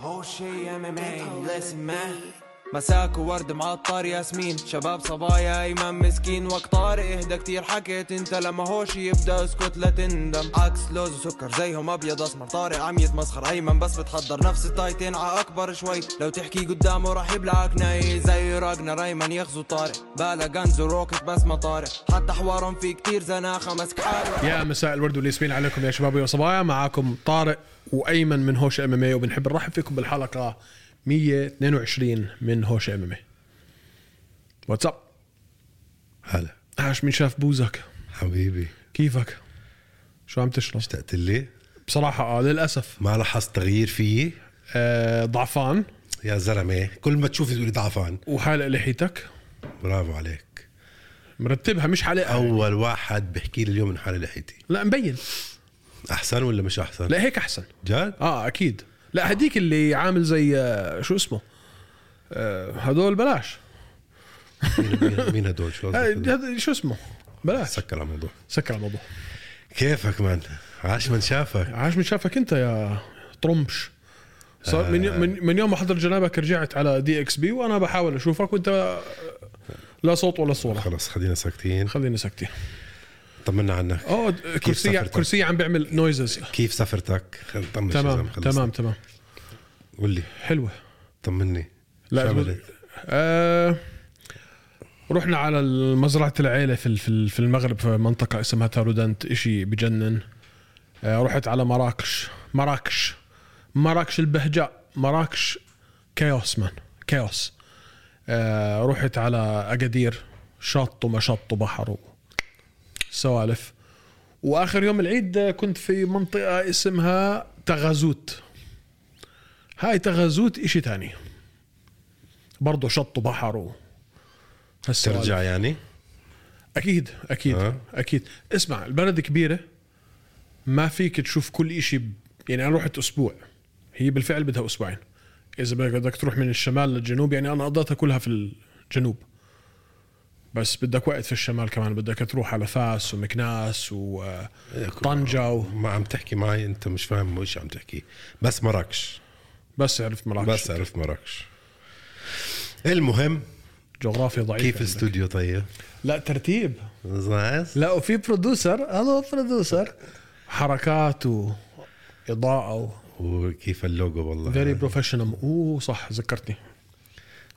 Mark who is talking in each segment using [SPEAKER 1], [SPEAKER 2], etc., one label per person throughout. [SPEAKER 1] هو شي ام ام اي لسن مان مساك وورد معطر ياسمين شباب صبايا ايمن مسكين وقت طارق اهدى كتير حكيت انت لما هوش يبدا اسكت لا تندم عكس لوز وسكر زيهم ابيض اسمر طارق عم يتمسخر ايمن بس بتحضر نفس التايتين ع اكبر شوي لو تحكي قدامه راح يبلعك ناي زي راجنا ريمان يغزو طارق بالا غنز وروكت بس ما طارق حتى حوارهم في كتير زناخه مسك حاله
[SPEAKER 2] يا مساء الورد والياسمين عليكم يا شباب ويا صبايا معاكم طارق وايمن من هوش ام ام اي وبنحب نرحب فيكم بالحلقه 122 من هوش إيه. ام ام اي واتساب
[SPEAKER 3] هلا
[SPEAKER 2] عاش مين شاف بوزك
[SPEAKER 3] حبيبي
[SPEAKER 2] كيفك شو عم تشرب
[SPEAKER 3] اشتقت لي
[SPEAKER 2] بصراحه اه للاسف
[SPEAKER 3] ما لاحظت تغيير فيي
[SPEAKER 2] آه ضعفان
[SPEAKER 3] يا زلمه كل ما تشوفي تقولي ضعفان
[SPEAKER 2] وحالق لحيتك
[SPEAKER 3] برافو عليك
[SPEAKER 2] مرتبها مش حالقها
[SPEAKER 3] اول واحد بحكي لي اليوم من حالي لحيتي
[SPEAKER 2] لا مبين
[SPEAKER 3] احسن ولا مش احسن
[SPEAKER 2] لا هيك احسن
[SPEAKER 3] جد
[SPEAKER 2] اه اكيد لا هديك اللي عامل زي آه، شو اسمه آه هدول بلاش
[SPEAKER 3] مين- مين هدول شو
[SPEAKER 2] آه،
[SPEAKER 3] قصدك هدول؟
[SPEAKER 2] هذا شو اسمه بلاش
[SPEAKER 3] سكر على الموضوع
[SPEAKER 2] سكر على الموضوع
[SPEAKER 3] كيفك مان عاش من شافك
[SPEAKER 2] عاش من شافك انت يا طرمش صار من يو- من من يوم ما حضر جنابك رجعت على دي اكس بي وانا بحاول اشوفك وانت لا صوت ولا صوره
[SPEAKER 3] خلص خلينا ساكتين
[SPEAKER 2] خلينا ساكتين
[SPEAKER 3] طمنا عنك
[SPEAKER 2] اه كرسي
[SPEAKER 3] سافرتك؟
[SPEAKER 2] كرسي عم بيعمل نويزز
[SPEAKER 3] كيف سفرتك خل- طمن شو
[SPEAKER 2] تمام
[SPEAKER 3] زلمة، خلصنا.
[SPEAKER 2] تمام تمام
[SPEAKER 3] قول لي
[SPEAKER 2] حلوه
[SPEAKER 3] طمني شو
[SPEAKER 2] لا
[SPEAKER 3] عملت؟
[SPEAKER 2] آه رحنا على مزرعة العيلة في ال- في ال- في المغرب في منطقة اسمها تارودنت اشي بجنن آه رحت على مراكش مراكش مراكش البهجاء مراكش كايوس مان كايوس آه رحت على اقادير شط وما شط وبحر وسوالف واخر يوم العيد آه، كنت في منطقة اسمها تغازوت هاي تغازوت اشي تاني برضه شط وبحر و هالسوالف.
[SPEAKER 3] ترجع يعني
[SPEAKER 2] اكيد اكيد
[SPEAKER 3] أه.
[SPEAKER 2] أه؟ اكيد اسمع البلد كبيره ما فيك تشوف كل إشي ب... يعني انا رحت اسبوع هي بالفعل بدها اسبوعين اذا بدك- بدك تروح من الشمال للجنوب يعني انا قضيتها كلها في الجنوب بس بدك وقت في الشمال كمان بدك تروح على فاس ومكناس وطنجة و...
[SPEAKER 3] ما عم تحكي معي انت مش فاهم ايش عم تحكي بس مراكش
[SPEAKER 2] بس عرفت مراكش
[SPEAKER 3] بس عرفت مراكش المهم
[SPEAKER 2] جغرافيا ضعيفة
[SPEAKER 3] كيف
[SPEAKER 2] عندك.
[SPEAKER 3] الاستوديو طيب؟
[SPEAKER 2] لا ترتيب
[SPEAKER 3] زاز؟
[SPEAKER 2] لا وفي برودوسر الو برودوسر حركات وإضاءة و...
[SPEAKER 3] وكيف اللوجو والله
[SPEAKER 2] فيري بروفيشنال اوه صح ذكرتني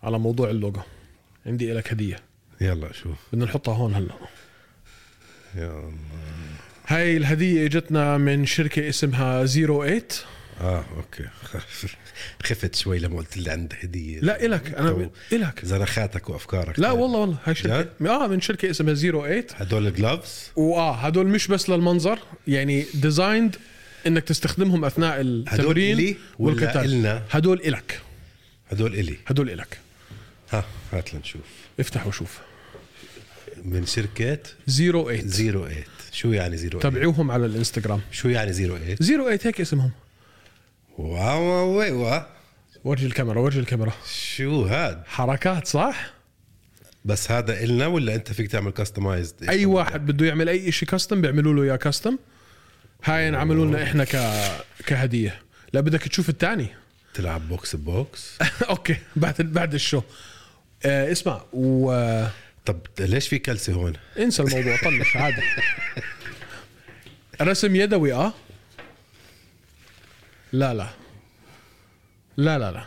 [SPEAKER 2] على موضوع اللوجو عندي لك هديه
[SPEAKER 3] يلا شوف
[SPEAKER 2] بدنا نحطها هون هلا
[SPEAKER 3] يا الله
[SPEAKER 2] هاي الهديه اجتنا من شركه اسمها 08
[SPEAKER 3] اه اوكي خفت شوي لما قلت لي عندي هديه
[SPEAKER 2] لا الك انا
[SPEAKER 3] طب.
[SPEAKER 2] الك
[SPEAKER 3] زنخاتك وافكارك
[SPEAKER 2] لا
[SPEAKER 3] طيب.
[SPEAKER 2] والله والله هاي شركه اه من شركه اسمها 08
[SPEAKER 3] هدول الجلوفز
[SPEAKER 2] واه هدول مش بس للمنظر يعني ديزايند انك تستخدمهم اثناء
[SPEAKER 3] إلي
[SPEAKER 2] التمرين
[SPEAKER 3] ولا إلنا؟
[SPEAKER 2] هدول الك
[SPEAKER 3] هدول الي
[SPEAKER 2] هدول الك
[SPEAKER 3] ها هات لنشوف
[SPEAKER 2] افتح وشوف
[SPEAKER 3] من شركه
[SPEAKER 2] 08
[SPEAKER 3] زيرو ايت شو يعني زيرو ايت؟
[SPEAKER 2] تابعوهم على الانستغرام
[SPEAKER 3] شو يعني زيرو ايت؟
[SPEAKER 2] 08 هيك اسمهم
[SPEAKER 3] واو واو واو واو.
[SPEAKER 2] ورجي الكاميرا ورجي الكاميرا
[SPEAKER 3] شو هاد؟
[SPEAKER 2] حركات صح؟
[SPEAKER 3] بس هذا النا ولا انت فيك تعمل كاستمايزد
[SPEAKER 2] اي واحد بده يعمل اي شيء كاستم بيعملوا له اياه كاستم هاي انعملوا لنا احنا ك كهديه لا بدك تشوف الثاني
[SPEAKER 3] تلعب بوكس بوكس
[SPEAKER 2] اوكي بعد بعد الشو آه اسمع وانسى
[SPEAKER 3] طب ليش في كلسه هون؟
[SPEAKER 2] الموضوع طنش عادي رسم يدوي اه لا لا لا لا لا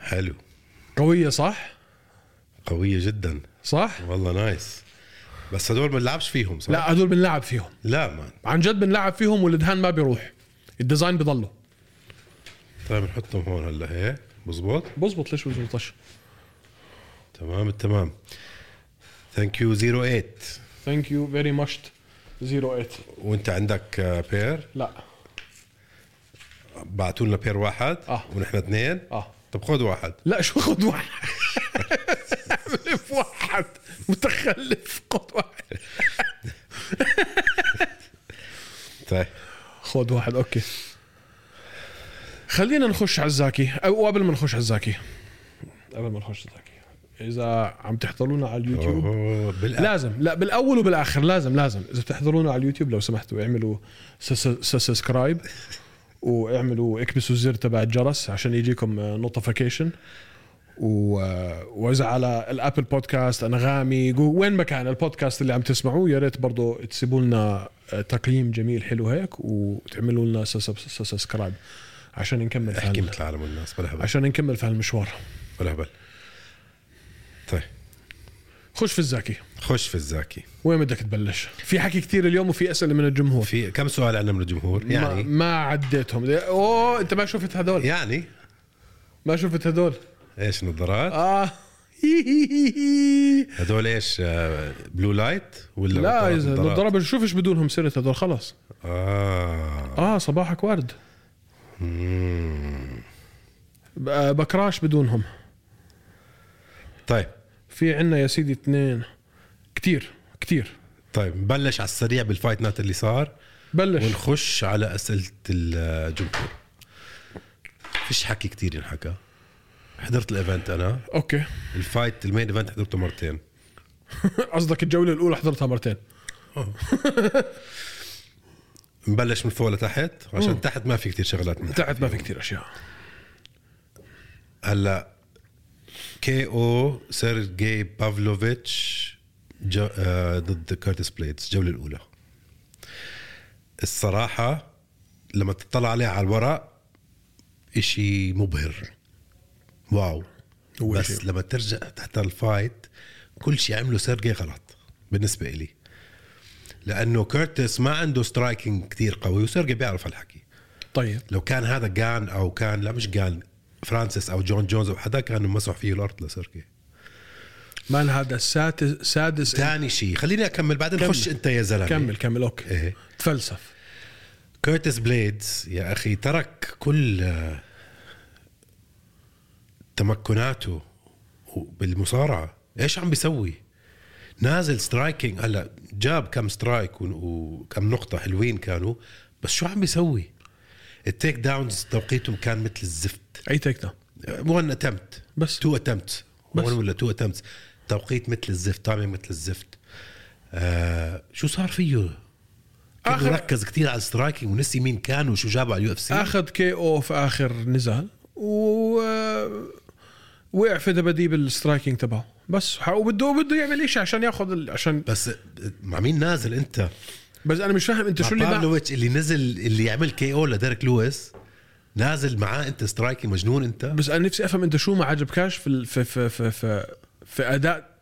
[SPEAKER 3] حلو
[SPEAKER 2] قويه صح
[SPEAKER 3] قوية جدا
[SPEAKER 2] صح
[SPEAKER 3] والله نايس بس هدول ما نلعبش فيهم صح؟
[SPEAKER 2] لا هدول بنلعب فيهم
[SPEAKER 3] لا مان
[SPEAKER 2] عن جد بنلعب فيهم والدهان ما بيروح الديزاين بضله
[SPEAKER 3] طيب نحطهم هون هلا هيك مزبوط
[SPEAKER 2] بزبط ليش بزبطش
[SPEAKER 3] تمام التمام ثانك يو 08
[SPEAKER 2] ثانك يو فيري ماتش 08
[SPEAKER 3] وانت عندك آه، بير
[SPEAKER 2] لا
[SPEAKER 3] بعتوا لنا بير واحد
[SPEAKER 2] آه.
[SPEAKER 3] ونحن اثنين
[SPEAKER 2] اه
[SPEAKER 3] طب خذ واحد
[SPEAKER 2] لا شو خد واحد اعمل واحد متخلف خد واحد
[SPEAKER 3] طيب
[SPEAKER 2] خد واحد اوكي خلينا نخش على الزاكي او قبل ما نخش على الزاكي قبل ما نخش على الزاكي اذا عم تحضرونا على اليوتيوب
[SPEAKER 3] أوه، بالأ...
[SPEAKER 2] لازم لا بالاول وبالاخر لازم لازم اذا بتحضرونا على اليوتيوب لو سمحتوا اعملوا سس- سس- سبسكرايب واعملوا اكبسوا الزر تبع الجرس عشان يجيكم نوتيفيكيشن و... واذا على الابل بودكاست انغامي جو... وين ما كان البودكاست اللي عم تسمعوه يا ريت برضه تسيبوا لنا آه، تقييم جميل حلو هيك وتعملوا لنا سبسكرايب عشان نكمل في
[SPEAKER 3] احكي
[SPEAKER 2] هال...
[SPEAKER 3] مثل العالم والناس بلا هبل
[SPEAKER 2] عشان نكمل في هالمشوار
[SPEAKER 3] بلا هبل طيب
[SPEAKER 2] خش في الزاكي
[SPEAKER 3] خش في الزاكي
[SPEAKER 2] وين بدك تبلش؟ في حكي كثير اليوم وفي اسئله من الجمهور
[SPEAKER 3] في كم سؤال عندنا من الجمهور
[SPEAKER 2] يعني إيه؟ ما,
[SPEAKER 3] يعني
[SPEAKER 2] ما عديتهم اوه انت ما شفت هدول
[SPEAKER 3] يعني
[SPEAKER 2] ما شفت هدول
[SPEAKER 3] ايش نظارات
[SPEAKER 2] اه هي هي هي هي.
[SPEAKER 3] هدول ايش آه، بلو لايت ولا
[SPEAKER 2] لا
[SPEAKER 3] نظارات-
[SPEAKER 2] يا زلمه
[SPEAKER 3] نظارات؟
[SPEAKER 2] الضرب شوفش بدونهم سنه هدول خلص
[SPEAKER 3] اه
[SPEAKER 2] اه صباحك ورد
[SPEAKER 3] مم.
[SPEAKER 2] ب- آه، بكراش بدونهم
[SPEAKER 3] طيب
[SPEAKER 2] في عنا يا سيدي اثنين كتير كتير
[SPEAKER 3] طيب نبلش على السريع بالفايت نات اللي صار
[SPEAKER 2] بلش
[SPEAKER 3] ونخش على اسئله الجمهور فيش حكي كتير ينحكى حضرت الايفنت انا
[SPEAKER 2] اوكي
[SPEAKER 3] الفايت المين ايفنت حضرته مرتين
[SPEAKER 2] قصدك الجوله الاولى حضرتها مرتين
[SPEAKER 3] نبلش من فوق لتحت عشان تحت ما في كتير شغلات من
[SPEAKER 2] تحت ما في كتير اشياء
[SPEAKER 3] هلا كي او سيرجي بافلوفيتش جو- آه، ضد كارتس بليدز الجوله الاولى الصراحه لما تطلع عليها على الورق اشي مبهر واو
[SPEAKER 2] هو
[SPEAKER 3] بس
[SPEAKER 2] شيء.
[SPEAKER 3] لما ترجع تحت الفايت كل شيء عمله سيرجي غلط بالنسبه إلي لانه كيرتس ما عنده سترايكنج كتير قوي وسيرجي بيعرف هالحكي
[SPEAKER 2] طيب
[SPEAKER 3] لو كان هذا جان او كان لا مش جان فرانسيس او جون جونز او حدا كانوا مسحوا فيه الارض لسيركي
[SPEAKER 2] مان هذا السادس سادس
[SPEAKER 3] ثاني شيء خليني اكمل بعدين
[SPEAKER 2] كمل.
[SPEAKER 3] خش انت يا زلمه
[SPEAKER 2] كمل كمل اوكي
[SPEAKER 3] إيه.
[SPEAKER 2] تفلسف
[SPEAKER 3] كيرتس بليدز يا اخي ترك كل آه، تمكناته بالمصارعه ايش عم بيسوي نازل سترايكينج هلا جاب كم سترايك و- وكم نقطه حلوين كانوا بس شو عم بيسوي التيك داونز توقيتهم كان مثل الزفت
[SPEAKER 2] اي تيك داون
[SPEAKER 3] وان اتمت
[SPEAKER 2] بس.
[SPEAKER 3] تو اتمت
[SPEAKER 2] بس.
[SPEAKER 3] وان ولا تو اتمت توقيت مثل الزفت تايمينج مثل الزفت آه شو صار فيه؟ كان
[SPEAKER 2] آخر-
[SPEAKER 3] ركز كثير على السترايكينج ونسي مين كان وشو جابه على اليو اف سي
[SPEAKER 2] اخذ كي او في اخر نزال و آه، وقع في دباديب السترايكينج تبعه بس ح- وبده بده يعمل شيء عشان ياخذ ال... عشان
[SPEAKER 3] بس مع مين نازل انت؟
[SPEAKER 2] بس انا مش فاهم انت
[SPEAKER 3] مع
[SPEAKER 2] شو اللي بقى
[SPEAKER 3] بابلوفيتش اللي نزل اللي عمل كي او لديريك لويس نازل معاه انت سترايكينج مجنون انت
[SPEAKER 2] بس انا نفسي افهم انت شو ما عجبكاش في ال... في في في في, في اداء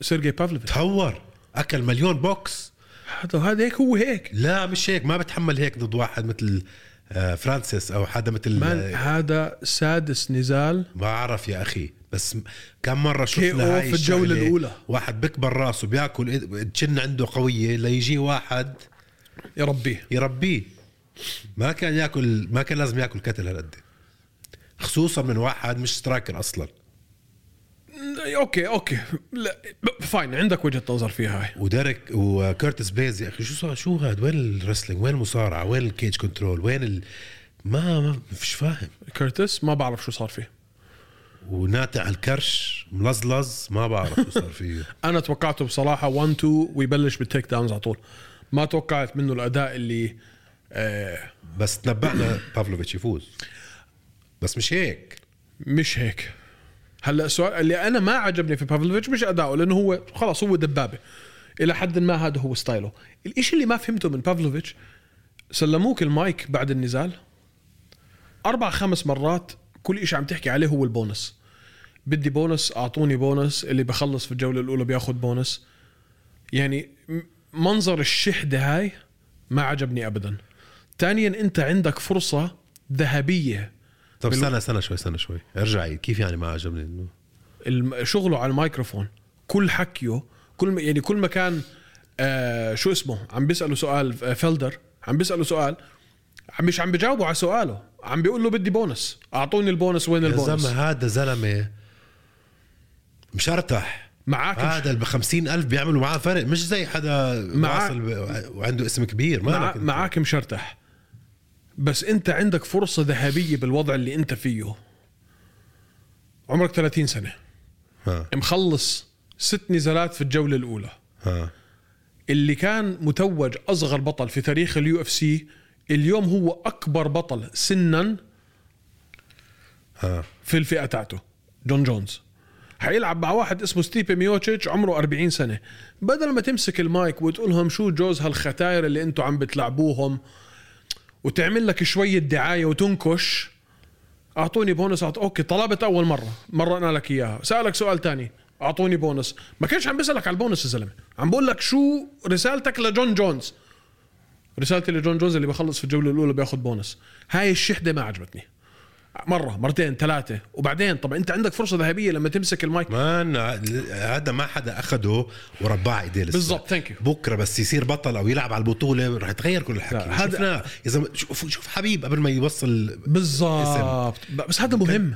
[SPEAKER 2] سيرجي بافلوفيتش
[SPEAKER 3] تهور اكل مليون بوكس
[SPEAKER 2] هذا هذا هيك هو هيك
[SPEAKER 3] لا مش هيك ما بتحمل هيك ضد واحد مثل آه، فرانسيس او حدا مثل
[SPEAKER 2] مان هذا سادس نزال
[SPEAKER 3] بعرف يا اخي بس م- كم مره
[SPEAKER 2] KO
[SPEAKER 3] شفنا هاي
[SPEAKER 2] في الجولة
[SPEAKER 3] الشغلة.
[SPEAKER 2] الأولى.
[SPEAKER 3] واحد بكبر راسه بياكل إيد- الجن عنده قويه ليجي واحد
[SPEAKER 2] يربيه
[SPEAKER 3] يربيه ما كان ياكل ما كان لازم ياكل كتل هالقد خصوصا من واحد مش سترايكر اصلا
[SPEAKER 2] اوكي اوكي لا فاين عندك وجهه نظر فيها هاي
[SPEAKER 3] وديريك وكيرتس بليز يا اخي شو صار شو هاد وين الرسلينج وين المصارعه وين الكيج كنترول وين ال... ما ما- مش فاهم
[SPEAKER 2] كيرتس ما بعرف شو صار فيه
[SPEAKER 3] وناتع على الكرش ملزلز ما بعرف شو صار فيه
[SPEAKER 2] انا توقعته بصراحه 1 2 ويبلش بالتيك داونز على طول ما توقعت منه الاداء اللي آه
[SPEAKER 3] بس تنبأنا بافلوفيتش يفوز بس مش هيك
[SPEAKER 2] مش هيك هلا السؤال اللي انا ما عجبني في بافلوفيتش مش اداؤه لانه هو خلاص هو دبابه الى حد ما هذا هو ستايله الإشي اللي ما فهمته من بافلوفيتش سلموك المايك بعد النزال اربع خمس مرات كل إشي عم تحكي عليه هو البونس بدي بونس اعطوني بونس اللي بخلص في الجوله الاولى بياخذ بونس يعني م- منظر الشحده هاي ما عجبني ابدا ثانيا انت عندك فرصه ذهبيه
[SPEAKER 3] طب
[SPEAKER 2] بال-
[SPEAKER 3] استنى استنى شوي استنى شوي ارجع عيد. كيف يعني ما عجبني انه
[SPEAKER 2] الم- شغله على الميكروفون كل حكيه كل ما- يعني كل ما كان آه شو اسمه عم بيساله سؤال آه، فيلدر عم بيساله سؤال عم مش عم بجاوبه على سؤاله عم بيقول له بدي بونس اعطوني البونس وين
[SPEAKER 3] يا
[SPEAKER 2] البونس
[SPEAKER 3] زلمه هذا زلمه مشرتح
[SPEAKER 2] معك مش-
[SPEAKER 3] هذا ال 50000 بيعملوا معاه فرق مش زي حدا
[SPEAKER 2] معاه-
[SPEAKER 3] واصل ب- وعنده اسم كبير
[SPEAKER 2] مع
[SPEAKER 3] ما مع
[SPEAKER 2] معاك مشرتح بس انت عندك فرصه ذهبيه بالوضع اللي انت فيه عمرك 30 سنه
[SPEAKER 3] ها
[SPEAKER 2] مخلص ست نزالات في الجوله الاولى
[SPEAKER 3] ها
[SPEAKER 2] اللي كان متوج اصغر بطل في تاريخ اليو اف سي اليوم هو اكبر بطل سنا
[SPEAKER 3] ها
[SPEAKER 2] في الفئه تاعته جون جونز حيلعب مع واحد اسمه ستيبي ميوتشيتش عمره 40 سنه بدل ما تمسك المايك وتقولهم شو جوز هالختاير اللي انتم عم بتلعبوهم وتعمل لك شويه دعايه وتنكش اعطوني بونص أعط... اوكي طلبت اول مره مرقنا لك اياها سالك سؤال تاني اعطوني بونص ما كانش عم بيسالك على البونص يا زلمه عم بقول لك شو رسالتك لجون جونز رسالتي لجون جونز اللي بخلص في الجوله الاولى بياخذ بونص هاي الشحده ما عجبتني مره مرتين ثلاثه وبعدين طب انت عندك فرصه ذهبيه لما تمسك المايك
[SPEAKER 3] ما أنا- هذا ما حدا اخده ورباه ايديه لسه
[SPEAKER 2] بالضبط ثانك يو
[SPEAKER 3] بكره بس يصير بطل او يلعب على البطوله رح يتغير كل الحكي
[SPEAKER 2] لا، هذا-
[SPEAKER 3] شفنا اذا شوف شوف حبيب قبل ما يوصل
[SPEAKER 2] بالضبط بس هذا مهم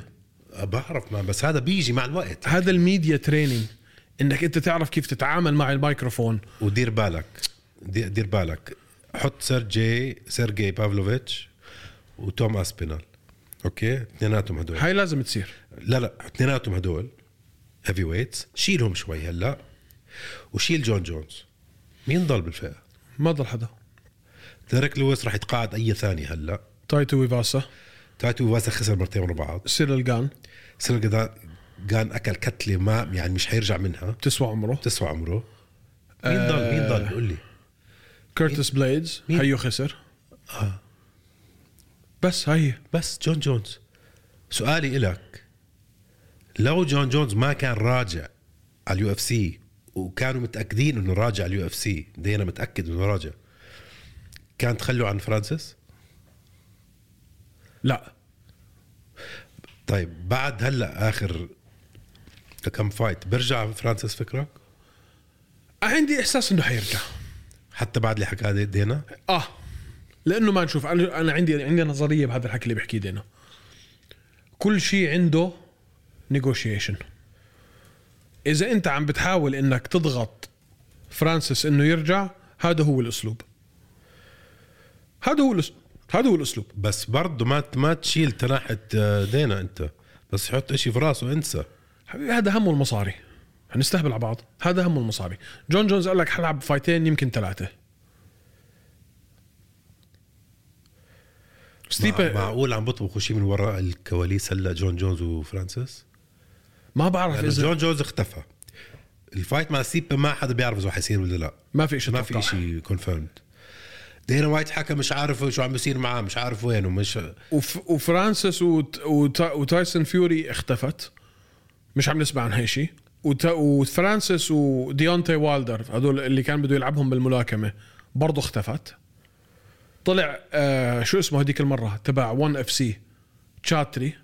[SPEAKER 3] بعرف ما بس هذا بيجي مع الوقت
[SPEAKER 2] هذا الميديا تريننج انك انت تعرف كيف تتعامل مع الميكروفون
[SPEAKER 3] ودير بالك دي- دير بالك حط سيرجي سيرجي بافلوفيتش وتوم اسبينال اوكي اثنيناتهم هدول
[SPEAKER 2] هاي لازم تصير
[SPEAKER 3] لا لا اثنيناتهم هدول هيفي ويتس شيلهم شوي هلا وشيل جون جونز مين ضل بالفئه؟
[SPEAKER 2] ما ضل حدا
[SPEAKER 3] ديريك لويس رح يتقاعد اي ثاني هلا
[SPEAKER 2] تايتو ويفاسا
[SPEAKER 3] تايتو واسا خسر مرتين ورا بعض
[SPEAKER 2] سيرل جان
[SPEAKER 3] سيرجي كان اكل كتله ما يعني مش حيرجع منها
[SPEAKER 2] بتسوى عمره
[SPEAKER 3] تسوى عمره مين ضل مين ضل قول لي
[SPEAKER 2] كيرتس بليدز
[SPEAKER 3] مين؟ آه.
[SPEAKER 2] هيو خسر بس هاي هي.
[SPEAKER 3] بس جون جونز سؤالي إلك لو جون جونز ما كان راجع على اليو اف سي وكانوا متاكدين انه راجع على اليو اف سي دينا متاكد انه راجع كان تخلوا عن فرانسيس
[SPEAKER 2] لا
[SPEAKER 3] طيب بعد هلا اخر كم فايت برجع فرانسيس فكرك
[SPEAKER 2] عندي احساس انه حيرجع
[SPEAKER 3] حتى بعد اللي حكاه دينا
[SPEAKER 2] اه لانه ما نشوف انا انا عندي عندي نظريه بهذا الحكي اللي بحكيه دينا كل شيء عنده نيغوشيشن اذا انت عم بتحاول انك تضغط فرانسيس انه يرجع هذا هو الاسلوب هذا هو الاسلوب هذا هو الاسلوب
[SPEAKER 3] بس برضه ما ما تشيل تناحة آه، دينا انت بس حط اشي في راسه انسى
[SPEAKER 2] حبيبي هذا همه المصاري هنستهبل على بعض هذا همه المصاري جون جونز قال لك حلعب فايتين يمكن ثلاثه
[SPEAKER 3] مع-
[SPEAKER 2] ستيبا
[SPEAKER 3] معقول عم بطبخوا شيء من وراء الكواليس هلا جون جونز وفرانسيس
[SPEAKER 2] ما بعرف
[SPEAKER 3] لانه
[SPEAKER 2] اذا
[SPEAKER 3] يعني جون جونز اختفى الفايت مع سيبا ما حدا بيعرف اذا حيصير ولا لا
[SPEAKER 2] ما في شيء
[SPEAKER 3] ما في شيء كونفيرمد دينا وايت حكى مش عارف شو عم بيصير معاه مش عارف وين ومش
[SPEAKER 2] وف... وفرانسيس وت... وت... وتايسون فيوري اختفت مش عم نسمع عن هاي شيء وت... وفرانسيس وديونتي والدر هدول اللي كان بده يلعبهم بالملاكمه برضه اختفت طلع آه شو اسمه هذيك المره تبع 1 اف سي تشاتري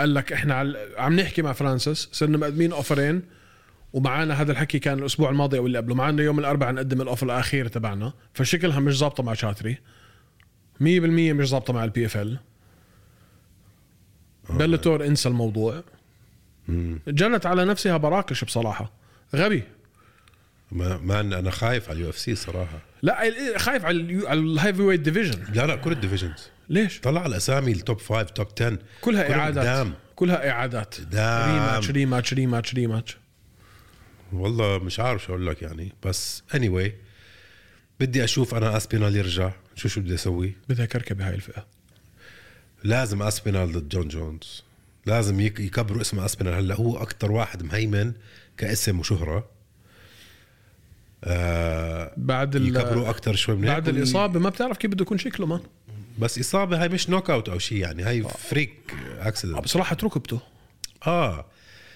[SPEAKER 2] قال لك احنا عل... عم نحكي مع فرانسيس صرنا مقدمين اوفرين ومعانا هذا الحكي كان الاسبوع الماضي او اللي قبله معانا يوم الاربعاء نقدم الاوفر الاخير تبعنا فشكلها مش ظابطه مع تشاتري 100% مش ظابطه مع البي اف ال
[SPEAKER 3] آه.
[SPEAKER 2] بلتور انسى الموضوع جنت على نفسها براكش بصراحه غبي
[SPEAKER 3] ما, ما أنا- انا خايف على اليو اف سي صراحه
[SPEAKER 2] لا ال- خايف على اليو- على الهيفي ويت ديفيجن
[SPEAKER 3] لا لا كل الديفيجنز
[SPEAKER 2] ليش
[SPEAKER 3] طلع الاسامي التوب 5 توب 10
[SPEAKER 2] كلها اعادات
[SPEAKER 3] قدام
[SPEAKER 2] كلها اعادات
[SPEAKER 3] دام.
[SPEAKER 2] ريماتش ريماتش ريماتش ريماتش
[SPEAKER 3] والله مش عارف شو اقول لك يعني بس اني anyway, بدي اشوف انا اسبينال يرجع شو شو بدي اسوي
[SPEAKER 2] بدها كركبه هاي الفئه
[SPEAKER 3] لازم اسبينال ضد جون جونز لازم يك- يكبروا اسم اسبينال هلا هو اكثر واحد مهيمن كاسم وشهره آه
[SPEAKER 2] بعد ال...
[SPEAKER 3] يكبروا اكثر شوي من هيك
[SPEAKER 2] بعد
[SPEAKER 3] وي-
[SPEAKER 2] الاصابه ما بتعرف كيف بده يكون شكله ما
[SPEAKER 3] بس اصابه هاي مش نوك اوت او شيء يعني هاي
[SPEAKER 2] آه.
[SPEAKER 3] فريك اكسيدنت
[SPEAKER 2] بصراحه ركبته
[SPEAKER 3] اه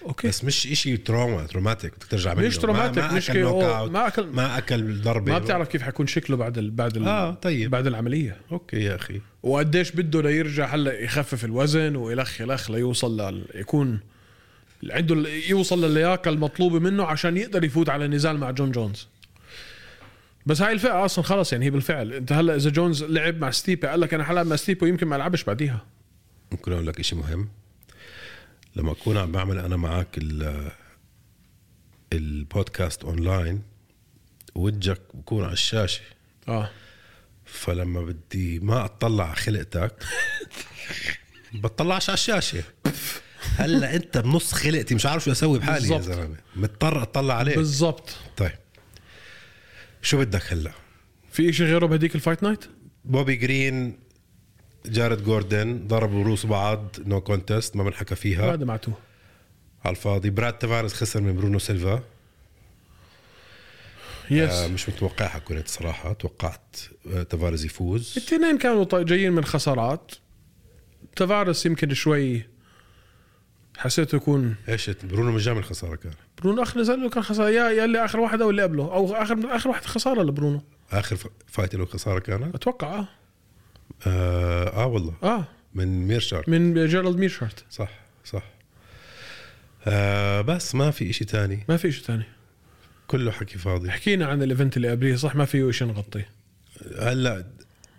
[SPEAKER 2] اوكي
[SPEAKER 3] بس مش إشي تروما تروماتيك بدك ترجع منه
[SPEAKER 2] مش traumatic،
[SPEAKER 3] ما, ما
[SPEAKER 2] مش
[SPEAKER 3] اكل
[SPEAKER 2] KO،
[SPEAKER 3] نوك اوت
[SPEAKER 2] ما أكل-
[SPEAKER 3] ما اكل ضربه
[SPEAKER 2] ما بتعرف كيف حيكون شكله بعد ال... بعد ال...
[SPEAKER 3] اه طيب
[SPEAKER 2] بعد العمليه
[SPEAKER 3] اوكي يا اخي
[SPEAKER 2] وقديش بده ليرجع هلا يخفف الوزن ويلخ يلخ ليوصل لل... يكون عنده ال- يوصل للياقه المطلوبه منه عشان يقدر يفوت على نزال مع جون جونز بس هاي الفئه اصلا خلص يعني هي بالفعل انت هلا اذا جونز لعب مع ستيبي قال لك انا حلعب مع ستيبي ويمكن ما العبش بعديها
[SPEAKER 3] ممكن اقول لك شيء مهم لما اكون عم بعمل انا معك ال البودكاست اونلاين وجهك بكون على الشاشه
[SPEAKER 2] اه
[SPEAKER 3] فلما بدي ما اطلع على خلقتك بطلعش على الشاشه هلا انت بنص خلقتي مش عارف شو اسوي بحالي يا
[SPEAKER 2] بالضبط.
[SPEAKER 3] زلمه مضطر اطلع عليك
[SPEAKER 2] بالضبط
[SPEAKER 3] طيب شو بدك هلا
[SPEAKER 2] في شيء غيره بهديك الفايت نايت
[SPEAKER 3] بوبي جرين جارد جوردن ضربوا رؤوس بعض نو كونتست ما بنحكى فيها
[SPEAKER 2] ما دمعتوه
[SPEAKER 3] على الفاضي براد تافارز خسر من برونو سيلفا آه
[SPEAKER 2] يس
[SPEAKER 3] مش متوقعها كنت صراحه توقعت آه تافارز يفوز
[SPEAKER 2] الاثنين كانوا طي- جايين من خسارات تفارس يمكن شوي حسيته يكون
[SPEAKER 3] ايش برونو مش جامل خساره كان
[SPEAKER 2] برونو اخر نزل له كان خساره يا يا اللي اخر واحد او اللي قبله او اخر من اخر واحد خساره لبرونو
[SPEAKER 3] اخر ف- فايت له خساره كانت
[SPEAKER 2] اتوقع اه
[SPEAKER 3] آه, اه والله
[SPEAKER 2] اه
[SPEAKER 3] من ميرشار
[SPEAKER 2] من جيرالد ميرشارت
[SPEAKER 3] صح صح آه بس ما في إشي تاني
[SPEAKER 2] ما في شيء ثاني
[SPEAKER 3] كله حكي فاضي
[SPEAKER 2] حكينا عن الايفنت اللي قبليه صح ما فيه شيء نغطيه
[SPEAKER 3] هلا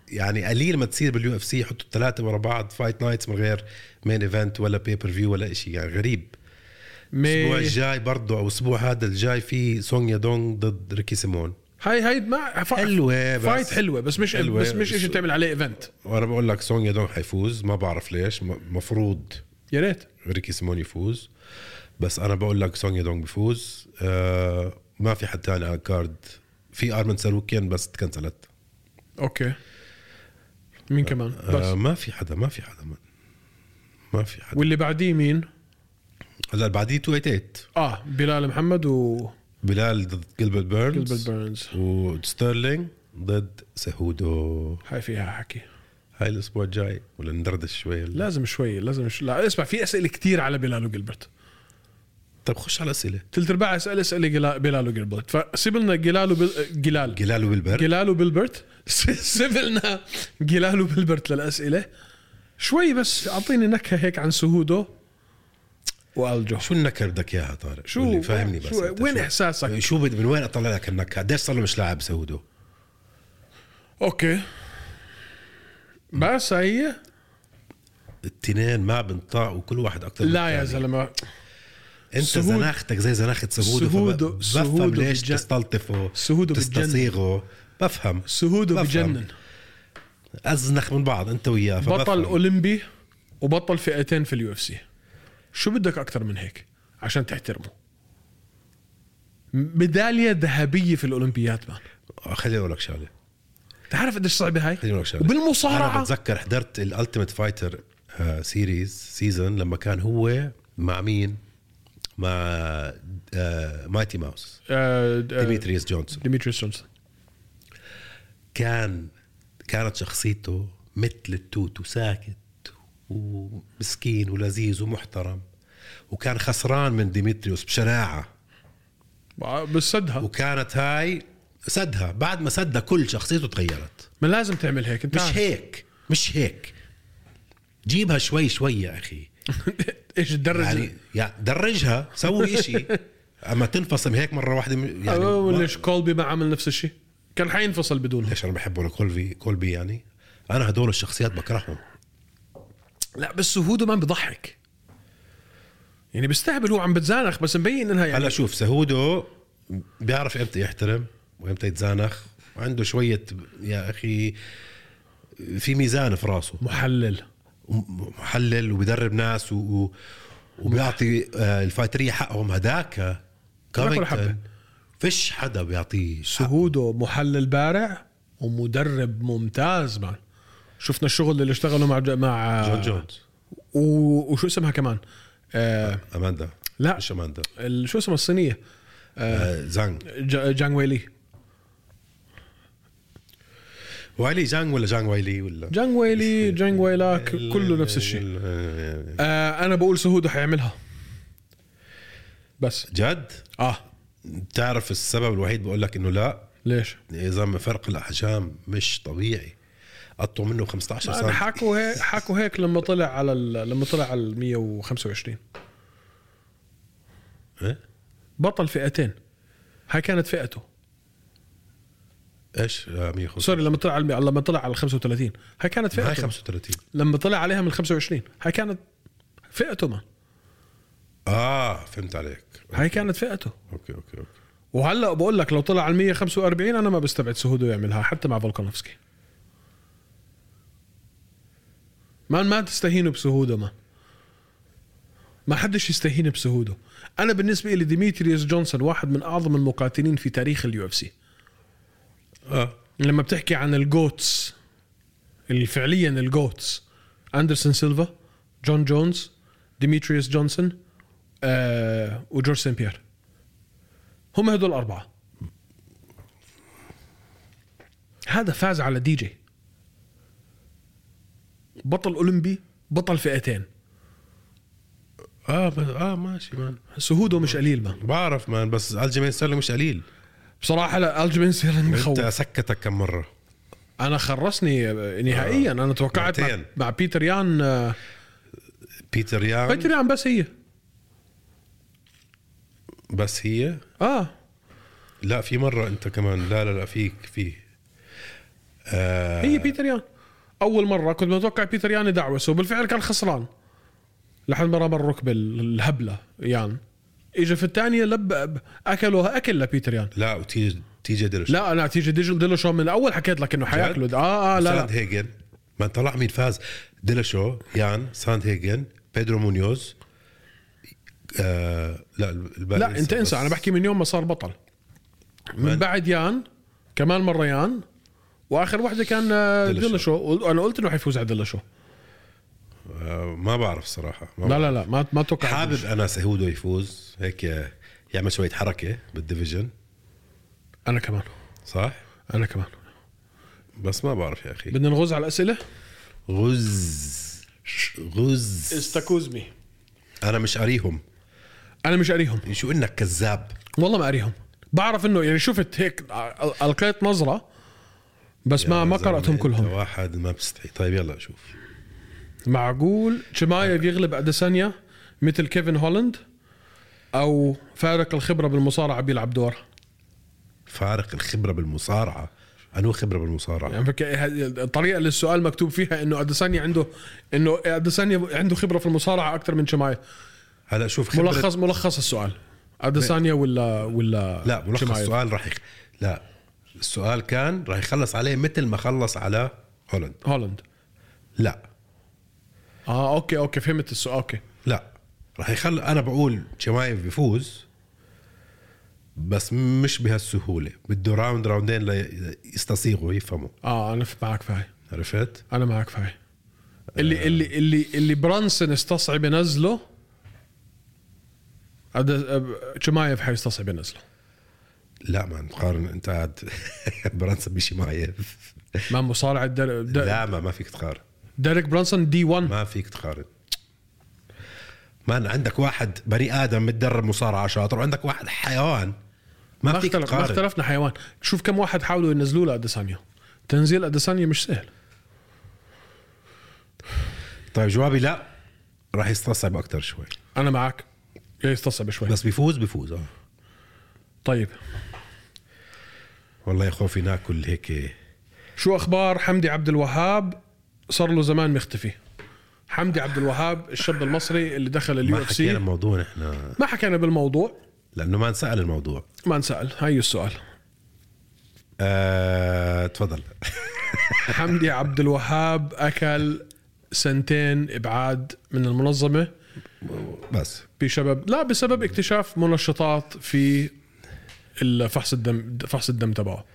[SPEAKER 3] يعني قليل ما تصير باليو اف سي يحطوا الثلاثه ورا بعض فايت نايتس من غير مين ايفنت ولا بيبر فيو ولا إشي يعني غريب الاسبوع
[SPEAKER 2] مي...
[SPEAKER 3] الجاي برضه او الاسبوع هذا الجاي في سونيا دونغ ضد ريكي سيمون
[SPEAKER 2] هاي هاي ما ف...
[SPEAKER 3] حلوة بس.
[SPEAKER 2] فايت حلوه بس مش
[SPEAKER 3] حلوة.
[SPEAKER 2] حلوة. بس مش شيء تعمل عليه ايفنت
[SPEAKER 3] وانا بقول لك سونيا دونغ حيفوز ما بعرف ليش م- مفروض
[SPEAKER 2] يا ريت
[SPEAKER 3] ريكي سيمون يفوز بس انا بقول لك سونيا دونغ بفوز آه ما في حد ثاني على الكارد في ارمن ساروكيان بس تكنسلت
[SPEAKER 2] اوكي مين كمان
[SPEAKER 3] آه
[SPEAKER 2] بس
[SPEAKER 3] ما في حدا ما في حدا ما, ما في حدا
[SPEAKER 2] واللي بعديه مين
[SPEAKER 3] هلا بعديه 288
[SPEAKER 2] اه بلال محمد و
[SPEAKER 3] بلال ضد
[SPEAKER 2] جيلبرت
[SPEAKER 3] جيلبرت بيرنز
[SPEAKER 2] بيرنز
[SPEAKER 3] وستيرلينج ضد سهودو
[SPEAKER 2] هاي فيها حكي
[SPEAKER 3] هاي الاسبوع الجاي ولا ندردش شوي لا
[SPEAKER 2] لازم شوي لازم ش... لا اسمع في اسئله كتير على بلال وجيلبرت
[SPEAKER 3] طب طيب، خش على الاسئله
[SPEAKER 2] ثلث ارباع اسئله اسئله جلا- بلال وجيلبرت فسيب لنا جلال وبل... جلال
[SPEAKER 3] جلال وبالبر
[SPEAKER 2] جلال وبلبرت سيب لنا جلال وبلبرت للاسئله شوي بس اعطيني نكهه هيك عن سهودو والجو
[SPEAKER 3] شو النكهه بدك اياها طارق؟
[SPEAKER 2] شو-
[SPEAKER 3] قولي، فهمني بس
[SPEAKER 2] شو-
[SPEAKER 3] أنت
[SPEAKER 2] وين إحساسك؟
[SPEAKER 3] شو بد من وين اطلع لك النكهه؟ قديش صار له مش لاعب سهودو؟
[SPEAKER 2] اوكي بس هي
[SPEAKER 3] التنين ما بنطاع وكل واحد اكثر
[SPEAKER 2] لا يا زلمه
[SPEAKER 3] انت
[SPEAKER 2] سهود-
[SPEAKER 3] زناختك زي زناخه سهودو
[SPEAKER 2] سهودو-
[SPEAKER 3] فب- بفهم
[SPEAKER 2] سهودو
[SPEAKER 3] ليش
[SPEAKER 2] بتجن-
[SPEAKER 3] تستلطفه
[SPEAKER 2] سهودو
[SPEAKER 3] تستصيغه بفهم
[SPEAKER 2] سهودو
[SPEAKER 3] بفهم.
[SPEAKER 2] بجنن
[SPEAKER 3] ازنخ من بعض انت وياه فبفهم.
[SPEAKER 2] بطل اولمبي وبطل فئتين في اليو اف سي شو بدك اكثر من هيك عشان تحترمه ميداليه ذهبيه في الاولمبياد مان
[SPEAKER 3] آه، خليني اقول لك شغله
[SPEAKER 2] تعرف قديش صعبه هاي
[SPEAKER 3] خليني اقول لك شغله انا
[SPEAKER 2] بالمصارعه
[SPEAKER 3] بتذكر حضرت الالتيميت فايتر سيريز سيزون آه، لما كان هو مع مين؟ مع آه مايتي ماوس
[SPEAKER 2] آه، د- آه،
[SPEAKER 3] ديميتريس جونسون
[SPEAKER 2] ديميتريس جونسون
[SPEAKER 3] كان كانت شخصيته مثل التوت وساكت ومسكين ولذيذ ومحترم وكان خسران من ديمتريوس بشناعه
[SPEAKER 2] آه، بسدها
[SPEAKER 3] وكانت هاي سدها بعد ما سدها كل شخصيته تغيرت
[SPEAKER 2] ما لازم تعمل هيك انت
[SPEAKER 3] مش
[SPEAKER 2] عارف.
[SPEAKER 3] هيك مش هيك جيبها شوي شوي يا اخي
[SPEAKER 2] ايش تدرج
[SPEAKER 3] يعني يعني درجها سوي إشي اما تنفصل هيك مره واحده م- يعني
[SPEAKER 2] أو
[SPEAKER 3] ما-
[SPEAKER 2] ليش آه، كولبي ما عمل نفس الشيء كان حينفصل بدونها
[SPEAKER 3] ليش انا بحبه لكولبي كولبي يعني انا هدول الشخصيات بكرههم
[SPEAKER 2] لا بس هودو ما بضحك يعني بيستهبل هو عم بتزانخ بس مبين انها يعني
[SPEAKER 3] هلا شوف سهودو بيعرف امتى يحترم وامتى يتزانخ وعنده شويه يا اخي في ميزان في راسه
[SPEAKER 2] محلل
[SPEAKER 3] محلل وبدرب ناس و... و... وبيعطي آه، الفايتريه حقهم هداك
[SPEAKER 2] ولا حبة.
[SPEAKER 3] كارينجتون فيش حدا بيعطيه حق.
[SPEAKER 2] سهودو محلل بارع ومدرب ممتاز مان شفنا الشغل اللي اشتغلوا مع مع
[SPEAKER 3] جون جونز
[SPEAKER 2] و... وشو اسمها كمان آه
[SPEAKER 3] اماندا
[SPEAKER 2] لا.
[SPEAKER 3] مش اماندا
[SPEAKER 2] ال- شو اسمها الصينيه
[SPEAKER 3] آه، زانغ
[SPEAKER 2] ج... جانغ ويلي
[SPEAKER 3] وايلي زانغ ولا زانغ وايلي ولا
[SPEAKER 2] جانغ ويلي جانغ ويلاك كله نفس الشيء
[SPEAKER 3] ال-
[SPEAKER 2] آه انا بقول سهودو حيعملها بس
[SPEAKER 3] جد
[SPEAKER 2] اه
[SPEAKER 3] بتعرف السبب الوحيد بقول لك انه لا
[SPEAKER 2] ليش
[SPEAKER 3] يا زلمه فرق الاحجام مش طبيعي قطعوا منه 15
[SPEAKER 2] أنا
[SPEAKER 3] سنه
[SPEAKER 2] حكوا هيك حكوا هيك لما طلع على ال... لما طلع على ال 125
[SPEAKER 3] إيه؟
[SPEAKER 2] بطل فئتين هاي كانت فئته
[SPEAKER 3] ايش آه، 150
[SPEAKER 2] سوري لما طلع على الم- لما طلع على ال 35 هاي كانت
[SPEAKER 3] هاي
[SPEAKER 2] فئته
[SPEAKER 3] 35
[SPEAKER 2] لما طلع عليها من 25 هاي كانت فئته ما
[SPEAKER 3] اه فهمت عليك
[SPEAKER 2] هاي كانت فئته
[SPEAKER 3] اوكي اوكي اوكي
[SPEAKER 2] وهلا بقول لك لو طلع على 145 انا ما بستبعد سهودو يعملها حتى مع فولكانوفسكي ما ما تستهينوا بسهودو ما ما حدش يستهين بسهودو انا بالنسبه لي ديميتريوس جونسون واحد من اعظم المقاتلين في تاريخ اليو اف سي
[SPEAKER 3] اه
[SPEAKER 2] لما بتحكي عن الجوتس اللي فعليا الجوتس اندرسون سيلفا جون جونز ديميتريوس جونسون آه وجورج سين بيير هم هدول الاربعه هذا فاز على دي جي بطل اولمبي بطل فئتين
[SPEAKER 3] اه بس اه ماشي مان
[SPEAKER 2] سهوده مش قليل ما
[SPEAKER 3] بعرف مان بس الجيمين سيرلو مش قليل
[SPEAKER 2] بصراحه لا الجبن سيرن
[SPEAKER 3] انت
[SPEAKER 2] مخوف
[SPEAKER 3] سكتك كم مره
[SPEAKER 2] انا خرسني نهائيا انا توقعت مع,
[SPEAKER 3] مرتين.
[SPEAKER 2] مع بيتر يان آه،
[SPEAKER 3] بيتر يان
[SPEAKER 2] بيتر يان بس هي
[SPEAKER 3] بس هي
[SPEAKER 2] اه
[SPEAKER 3] لا في مره انت كمان لا لا لا فيك في
[SPEAKER 2] هي بيتر يان اول مره كنت متوقع بيتر يان يدعوسه وبالفعل كان خسران لحد ما رمى الركبه الهبله يان اجى في الثانيه لب اكلوها اكل لبيتر يان
[SPEAKER 3] لا وتيجي تيجي درش
[SPEAKER 2] لا انا تيجي ديجل ديلوشو من الاول حكيت لك انه حياكله اه اه لا
[SPEAKER 3] ساند
[SPEAKER 2] لا
[SPEAKER 3] هيجن ما طلع مين فاز ديلاشو يان ساند هيجن بيدرو مونيوز آه لا الباقي
[SPEAKER 2] لا انت
[SPEAKER 3] لسه
[SPEAKER 2] انسى
[SPEAKER 3] بس
[SPEAKER 2] انا بحكي من يوم ما صار بطل من
[SPEAKER 3] من-
[SPEAKER 2] بعد يان كمان مره يان واخر واحده كان آه،
[SPEAKER 3] ديلاشو.
[SPEAKER 2] ديلاشو انا قلت انه حيفوز على ديلاشو
[SPEAKER 3] آه ما بعرف صراحه ما
[SPEAKER 2] لا
[SPEAKER 3] بعرف.
[SPEAKER 2] لا لا ما ما توقع
[SPEAKER 3] حابب انا سهودو يفوز هيك يعمل شويه حركه بالديفيجن
[SPEAKER 2] انا كمان
[SPEAKER 3] صح
[SPEAKER 2] انا كمان
[SPEAKER 3] بس ما بعرف يا اخي
[SPEAKER 2] بدنا نغوز على الاسئله
[SPEAKER 3] غز غز
[SPEAKER 2] استكوزمي
[SPEAKER 3] انا مش قاريهم
[SPEAKER 2] انا مش قاريهم
[SPEAKER 3] شو انك كذاب
[SPEAKER 2] والله ما قاريهم بعرف انه يعني شفت هيك القيت نظره بس ما
[SPEAKER 3] يا
[SPEAKER 2] ما
[SPEAKER 3] زلمة،
[SPEAKER 2] قراتهم
[SPEAKER 3] أنت
[SPEAKER 2] كلهم
[SPEAKER 3] واحد ما بستحي طيب يلا شوف
[SPEAKER 2] معقول شمايف يغلب اديسانيا مثل كيفن هولند او فارق الخبره بالمصارعه بيلعب دور
[SPEAKER 3] فارق الخبره بالمصارعه انو خبره بالمصارعه
[SPEAKER 2] يعني فك- ه- الطريقه اللي السؤال مكتوب فيها انه اديسانيا عنده انه اديسانيا عنده خبره في المصارعه اكثر من شمايف
[SPEAKER 3] هلا شوف خبره
[SPEAKER 2] ملخص ملخص السؤال اديسانيا ولا ولا
[SPEAKER 3] لا ملخص
[SPEAKER 2] شمايف؟
[SPEAKER 3] السؤال راح يخ... لا السؤال كان راح يخلص عليه مثل ما خلص على هولند
[SPEAKER 2] هولند
[SPEAKER 3] لا
[SPEAKER 2] اه اوكي اوكي فهمت السؤال اوكي
[SPEAKER 3] لا راح يخل انا بقول شمايف بيفوز بس مش بهالسهوله بده راوند راوندين ليستصيغوا يفهموا
[SPEAKER 2] اه انا ف- معك في هاي
[SPEAKER 3] عرفت
[SPEAKER 2] انا معك في هاي
[SPEAKER 3] آه.
[SPEAKER 2] اللي اللي اللي اللي برانسون استصعب ينزله هذا آه، أب- شمايف حيستصعب ينزله
[SPEAKER 3] لا ما تقارن انت قاعد برانسون بشمايف
[SPEAKER 2] ما مصارع در... در...
[SPEAKER 3] لا ما ما فيك تقارن
[SPEAKER 2] ديريك برانسون دي 1
[SPEAKER 3] ما فيك تقارن مان عندك واحد بني ادم متدرب مصارعه شاطر وعندك واحد حيوان ما,
[SPEAKER 2] ما,
[SPEAKER 3] فيك
[SPEAKER 2] اختلف... ما
[SPEAKER 3] تقارن
[SPEAKER 2] اختلفنا حيوان شوف كم واحد حاولوا ينزلوا له اديسانيا تنزيل اديسانيا مش سهل
[SPEAKER 3] طيب جوابي لا راح يستصعب اكثر شوي
[SPEAKER 2] انا معك يستصعب شوي
[SPEAKER 3] بس بيفوز بيفوز اه
[SPEAKER 2] طيب
[SPEAKER 3] والله يا خوفي ناكل هيك
[SPEAKER 2] شو اخبار حمدي عبد الوهاب صار له زمان مختفي حمدي عبد الوهاب الشاب المصري اللي دخل اليو
[SPEAKER 3] ما
[SPEAKER 2] اف
[SPEAKER 3] حكينا
[SPEAKER 2] سي
[SPEAKER 3] الموضوع نحن
[SPEAKER 2] ما حكينا بالموضوع
[SPEAKER 3] لانه ما انسال الموضوع
[SPEAKER 2] ما انسال هاي السؤال
[SPEAKER 3] آه، تفضل
[SPEAKER 2] حمدي عبد الوهاب اكل سنتين ابعاد من المنظمه
[SPEAKER 3] بس
[SPEAKER 2] بسبب لا بسبب اكتشاف منشطات في الفحص الدم فحص الدم تبعه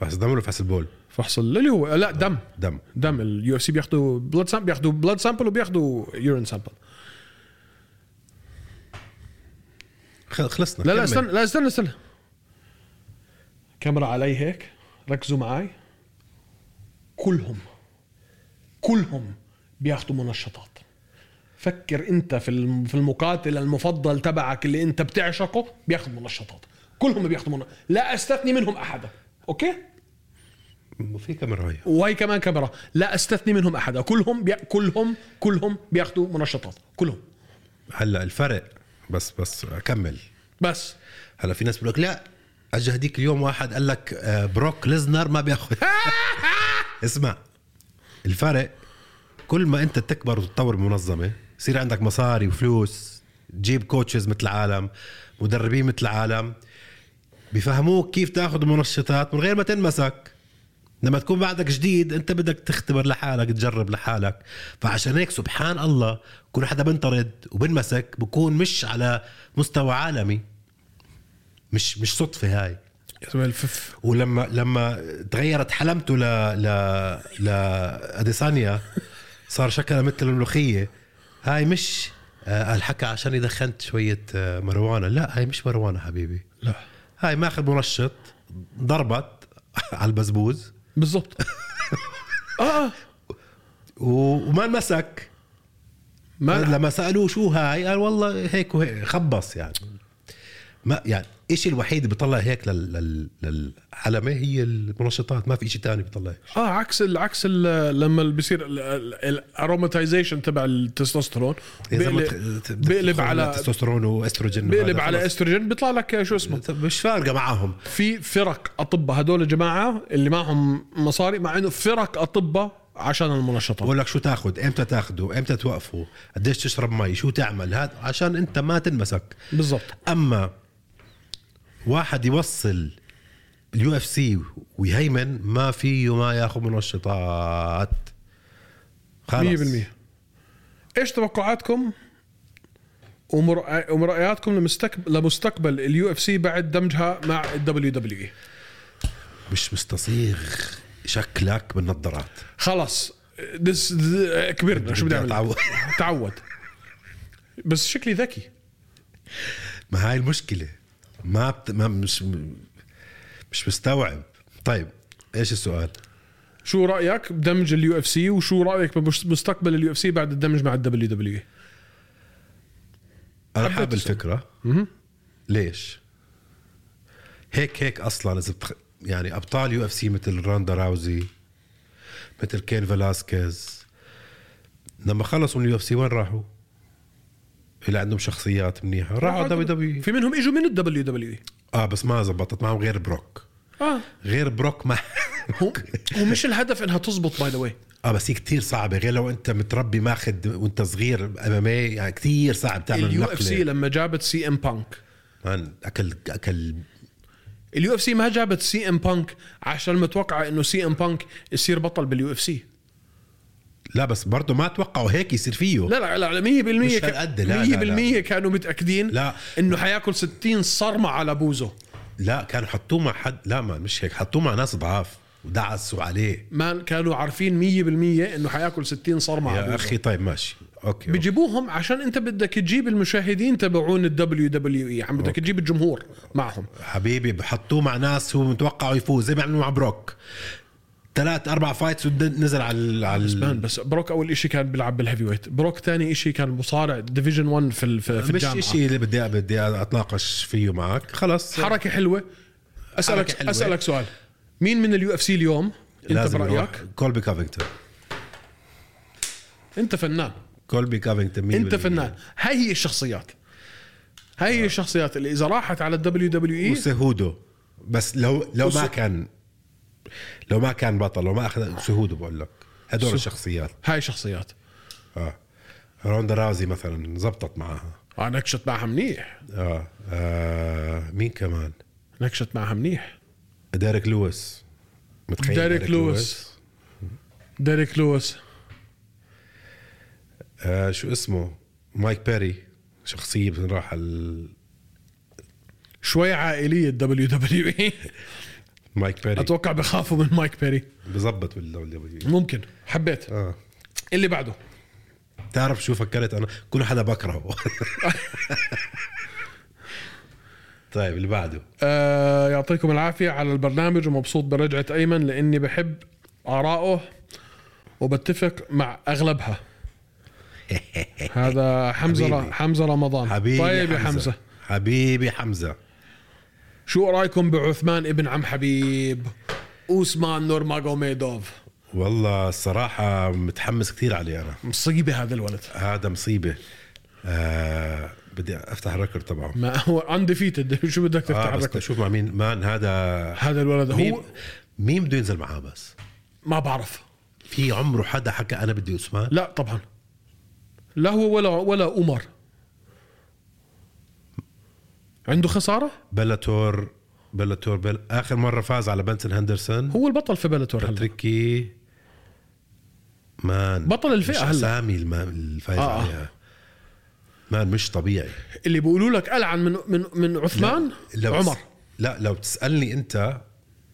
[SPEAKER 3] فحص دم ولا فحص البول
[SPEAKER 2] فحص ال- اللي هو لا دم
[SPEAKER 3] دم
[SPEAKER 2] دم اليو اف سي بياخذوا بلاد سامبل بياخذوا بلاد سامبل وبياخذوا يورين سامبل
[SPEAKER 3] خ- خلصنا
[SPEAKER 2] لا لا
[SPEAKER 3] كمل.
[SPEAKER 2] استنى لا استنى استنى كاميرا علي هيك ركزوا معي كلهم كلهم بياخذوا منشطات فكر انت في الم- في المقاتل المفضل تبعك اللي انت بتعشقه بياخذ منشطات كلهم بياخذوا منشطات لا استثني منهم احدا اوكي
[SPEAKER 3] في كاميرا هاي
[SPEAKER 2] وهي كمان كاميرا لا استثني منهم احدا كلهم بي... كلهم كلهم بياخذوا منشطات كلهم
[SPEAKER 3] هلا الفرق بس بس اكمل
[SPEAKER 2] بس
[SPEAKER 3] هلا في ناس بيقول لك لا اجى هديك اليوم واحد قال لك آه، بروك ليزنر ما بياخذ اسمع الفرق كل ما انت تكبر وتتطور بمنظمه يصير عندك مصاري وفلوس تجيب كوتشز مثل العالم مدربين مثل العالم بيفهموك كيف تاخذ منشطات من غير ما تنمسك لما تكون بعدك جديد انت بدك تختبر لحالك تجرب لحالك فعشان هيك سبحان الله كل حدا بنطرد وبنمسك بكون مش على مستوى عالمي مش مش صدفه هاي
[SPEAKER 2] زي الفف
[SPEAKER 3] ولما لما تغيرت حلمته ل ل ل اديسانيا صار شكلها مثل الملوخيه هاي مش آه، الحكى عشان دخنت شويه آه، مروانه لا هاي مش مروانه حبيبي
[SPEAKER 2] لا
[SPEAKER 3] هاي ماخذ منشط ضربت على البزبوز
[SPEAKER 2] بالضبط اه
[SPEAKER 3] و- وما مسك
[SPEAKER 2] ما
[SPEAKER 3] لما سالوه شو هاي قال والله هيك وهيك خبص يعني ما يعني الشيء الوحيد اللي بيطلع هيك لل... لل... للعلمه هي المنشطات ما في شيء ثاني بيطلع هيك.
[SPEAKER 2] اه عكس ال عكس ال لما اللي بيصير الاروماتيزيشن تبع التستوستيرون
[SPEAKER 3] إذا ما
[SPEAKER 2] بيقلب-
[SPEAKER 3] ت- ت-
[SPEAKER 2] بيقلب
[SPEAKER 3] تدخل
[SPEAKER 2] على
[SPEAKER 3] تستوستيرون واستروجين
[SPEAKER 2] بيقلب
[SPEAKER 3] وهذا
[SPEAKER 2] على
[SPEAKER 3] خلص.
[SPEAKER 2] استروجين بيطلع لك شو اسمه
[SPEAKER 3] مش فارقه معاهم
[SPEAKER 2] في فرق اطباء هدول جماعه اللي معهم مصاري مع انه فرق اطباء عشان المنشطات
[SPEAKER 3] بقول لك شو تاخذ امتى تاخده امتى توقفه قديش تشرب مي شو تعمل هذا عشان انت ما تنمسك
[SPEAKER 2] بالضبط
[SPEAKER 3] اما واحد يوصل اليو اف سي ويهيمن ما فيه ما ياخذ منشطات
[SPEAKER 2] 100%
[SPEAKER 3] خلص
[SPEAKER 2] ايش توقعاتكم ومر- ومرأياتكم لمستقبل لمستقبل اليو اف سي بعد دمجها مع الدبليو دبليو اي
[SPEAKER 3] مش مستصيغ شكلك بالنظارات
[SPEAKER 2] خلص دس كبرنا شو بدي اعمل
[SPEAKER 3] تعود.
[SPEAKER 2] تعود بس شكلي ذكي
[SPEAKER 3] ما هاي المشكله ما, بت... ما مش مش مستوعب طيب ايش السؤال
[SPEAKER 2] شو رايك بدمج اليو اف سي وشو رايك بمستقبل اليو اف سي بعد الدمج مع الدبليو دبليو اي
[SPEAKER 3] انا
[SPEAKER 2] حبيت
[SPEAKER 3] حابب
[SPEAKER 2] السؤال.
[SPEAKER 3] الفكره ليش هيك هيك اصلا اذا بتخ... يعني ابطال يو اف سي مثل راندا راوزي مثل كين فلاسكيز لما خلصوا من اليو اف سي وين راحوا؟ اللي عندهم شخصيات منيحه راحوا دبليو دبليو
[SPEAKER 2] في منهم اجوا من الدبليو دبليو اي
[SPEAKER 3] اه بس ما زبطت معهم غير بروك
[SPEAKER 2] اه
[SPEAKER 3] غير بروك ما
[SPEAKER 2] هو ومش الهدف انها تزبط باي ذا واي
[SPEAKER 3] اه بس هي كثير صعبه غير لو انت متربي ماخذ وانت صغير امامي يعني كثير صعب تعمل
[SPEAKER 2] اليو
[SPEAKER 3] النقله
[SPEAKER 2] اف سي لما جابت سي ام بانك
[SPEAKER 3] مان، اكل اكل
[SPEAKER 2] اليو اف سي ما جابت سي ام بانك عشان متوقعه انه سي ام بانك يصير بطل باليو اف سي
[SPEAKER 3] لا بس برضه ما توقعوا هيك يصير فيه
[SPEAKER 2] لا لا لا 100%
[SPEAKER 3] مش
[SPEAKER 2] كان-
[SPEAKER 3] هالقد، لا، لا،
[SPEAKER 2] 100% كانوا متاكدين
[SPEAKER 3] لا.
[SPEAKER 2] انه حياكل 60 صرمه على بوزه
[SPEAKER 3] لا كانوا حطوه مع حد لا ما مش هيك حطوه مع ناس ضعاف ودعسوا عليه
[SPEAKER 2] ما كانوا عارفين 100% انه حياكل 60 صرمه على
[SPEAKER 3] يا
[SPEAKER 2] بوزه
[SPEAKER 3] اخي طيب ماشي اوكي أوكي.
[SPEAKER 2] بيجيبوهم عشان انت بدك تجيب المشاهدين تبعون الدبليو دبليو اي عم E. يعني بدك تجيب الجمهور معهم
[SPEAKER 3] حبيبي بحطوه مع ناس هو متوقعوا يفوز زي ما عملوا مع بروك ثلاث اربع فايتس ود- نزل على ال- على
[SPEAKER 2] مان
[SPEAKER 3] ال-
[SPEAKER 2] بس بروك اول شيء كان بيلعب بالهيفي ويت بروك ثاني شيء كان مصارع ديفيجن 1 في ال- في في
[SPEAKER 3] مش
[SPEAKER 2] الجامعه
[SPEAKER 3] شيء اللي بدي بدي اتناقش فيه معك خلص
[SPEAKER 2] حركه حلوه اسالك
[SPEAKER 3] حركة حلوة.
[SPEAKER 2] اسالك سؤال مين من اليو اف سي اليوم انت
[SPEAKER 3] لازم
[SPEAKER 2] برايك
[SPEAKER 3] نروح. كولبي كافينغتون
[SPEAKER 2] انت فنان
[SPEAKER 3] كولبي كافينغتون مين
[SPEAKER 2] انت
[SPEAKER 3] بالمية.
[SPEAKER 2] فنان هاي هي الشخصيات هاي
[SPEAKER 3] آه.
[SPEAKER 2] هي الشخصيات اللي اذا راحت على الدبليو دبليو اي
[SPEAKER 3] وسهوده بس لو لو ما
[SPEAKER 2] وس-
[SPEAKER 3] كان لو ما كان بطل لو ما اخذ سهوده بقول لك هدول
[SPEAKER 2] سه-
[SPEAKER 3] الشخصيات
[SPEAKER 2] هاي شخصيات
[SPEAKER 3] اه روندا راوزي مثلا زبطت معها
[SPEAKER 2] اه نكشت معها منيح
[SPEAKER 3] آه. اه مين كمان
[SPEAKER 2] نكشت معها منيح
[SPEAKER 3] ديريك لويس متخيل
[SPEAKER 2] ديريك لويس. ديريك لويس
[SPEAKER 3] آه شو اسمه مايك بيري شخصية بس راح ال-
[SPEAKER 2] شوي عائليه الدبليو دبليو اي
[SPEAKER 3] مايك بيري
[SPEAKER 2] اتوقع E. بخافوا من مايك بيري
[SPEAKER 3] بزبط بالدبليو
[SPEAKER 2] ممكن حبيت
[SPEAKER 3] اه
[SPEAKER 2] اللي بعده
[SPEAKER 3] تعرف شو فكرت انا كل حدا بكرهه طيب اللي بعده
[SPEAKER 2] آه يعطيكم العافية على البرنامج ومبسوط برجعة أيمن لأني بحب آرائه وبتفق مع أغلبها هذا حمزة
[SPEAKER 3] حبيبي.
[SPEAKER 2] ر- حمزة رمضان
[SPEAKER 3] حبيبي
[SPEAKER 2] طيب يا حمزة
[SPEAKER 3] حبيبي حمزه
[SPEAKER 2] شو رأيكم بعثمان ابن عم حبيب أوسمان نورماغوميدوف
[SPEAKER 3] والله الصراحة متحمس كثير عليه أنا
[SPEAKER 2] مصيبة هذا الولد
[SPEAKER 3] هذا مصيبة آه بدي أفتح الريكورد تبعه
[SPEAKER 2] ما هو انديفيتد شو بدك تفتح
[SPEAKER 3] آه بس
[SPEAKER 2] آه
[SPEAKER 3] شوف مع مين مان هذا
[SPEAKER 2] هذا الولد
[SPEAKER 3] مين
[SPEAKER 2] هو
[SPEAKER 3] مين بده ينزل معاه بس
[SPEAKER 2] ما بعرف
[SPEAKER 3] في عمره حدا حكى أنا بدي عثمان
[SPEAKER 2] لا طبعا لا هو ولا ولا عمر عنده خساره
[SPEAKER 3] بلاتور بلاتور بل... آخر مرة فاز على بنسن هندرسون
[SPEAKER 2] هو البطل في بلاتور هلا
[SPEAKER 3] باتريكي مان
[SPEAKER 2] بطل الفئة
[SPEAKER 3] مش
[SPEAKER 2] هلا.
[SPEAKER 3] أسامي الم... الفايز
[SPEAKER 2] آه.
[SPEAKER 3] آه. عليها مان مش طبيعي
[SPEAKER 2] اللي بيقولوا لك العن من من من عثمان
[SPEAKER 3] لا، لا، بس-
[SPEAKER 2] عمر
[SPEAKER 3] لا لو تسالني انت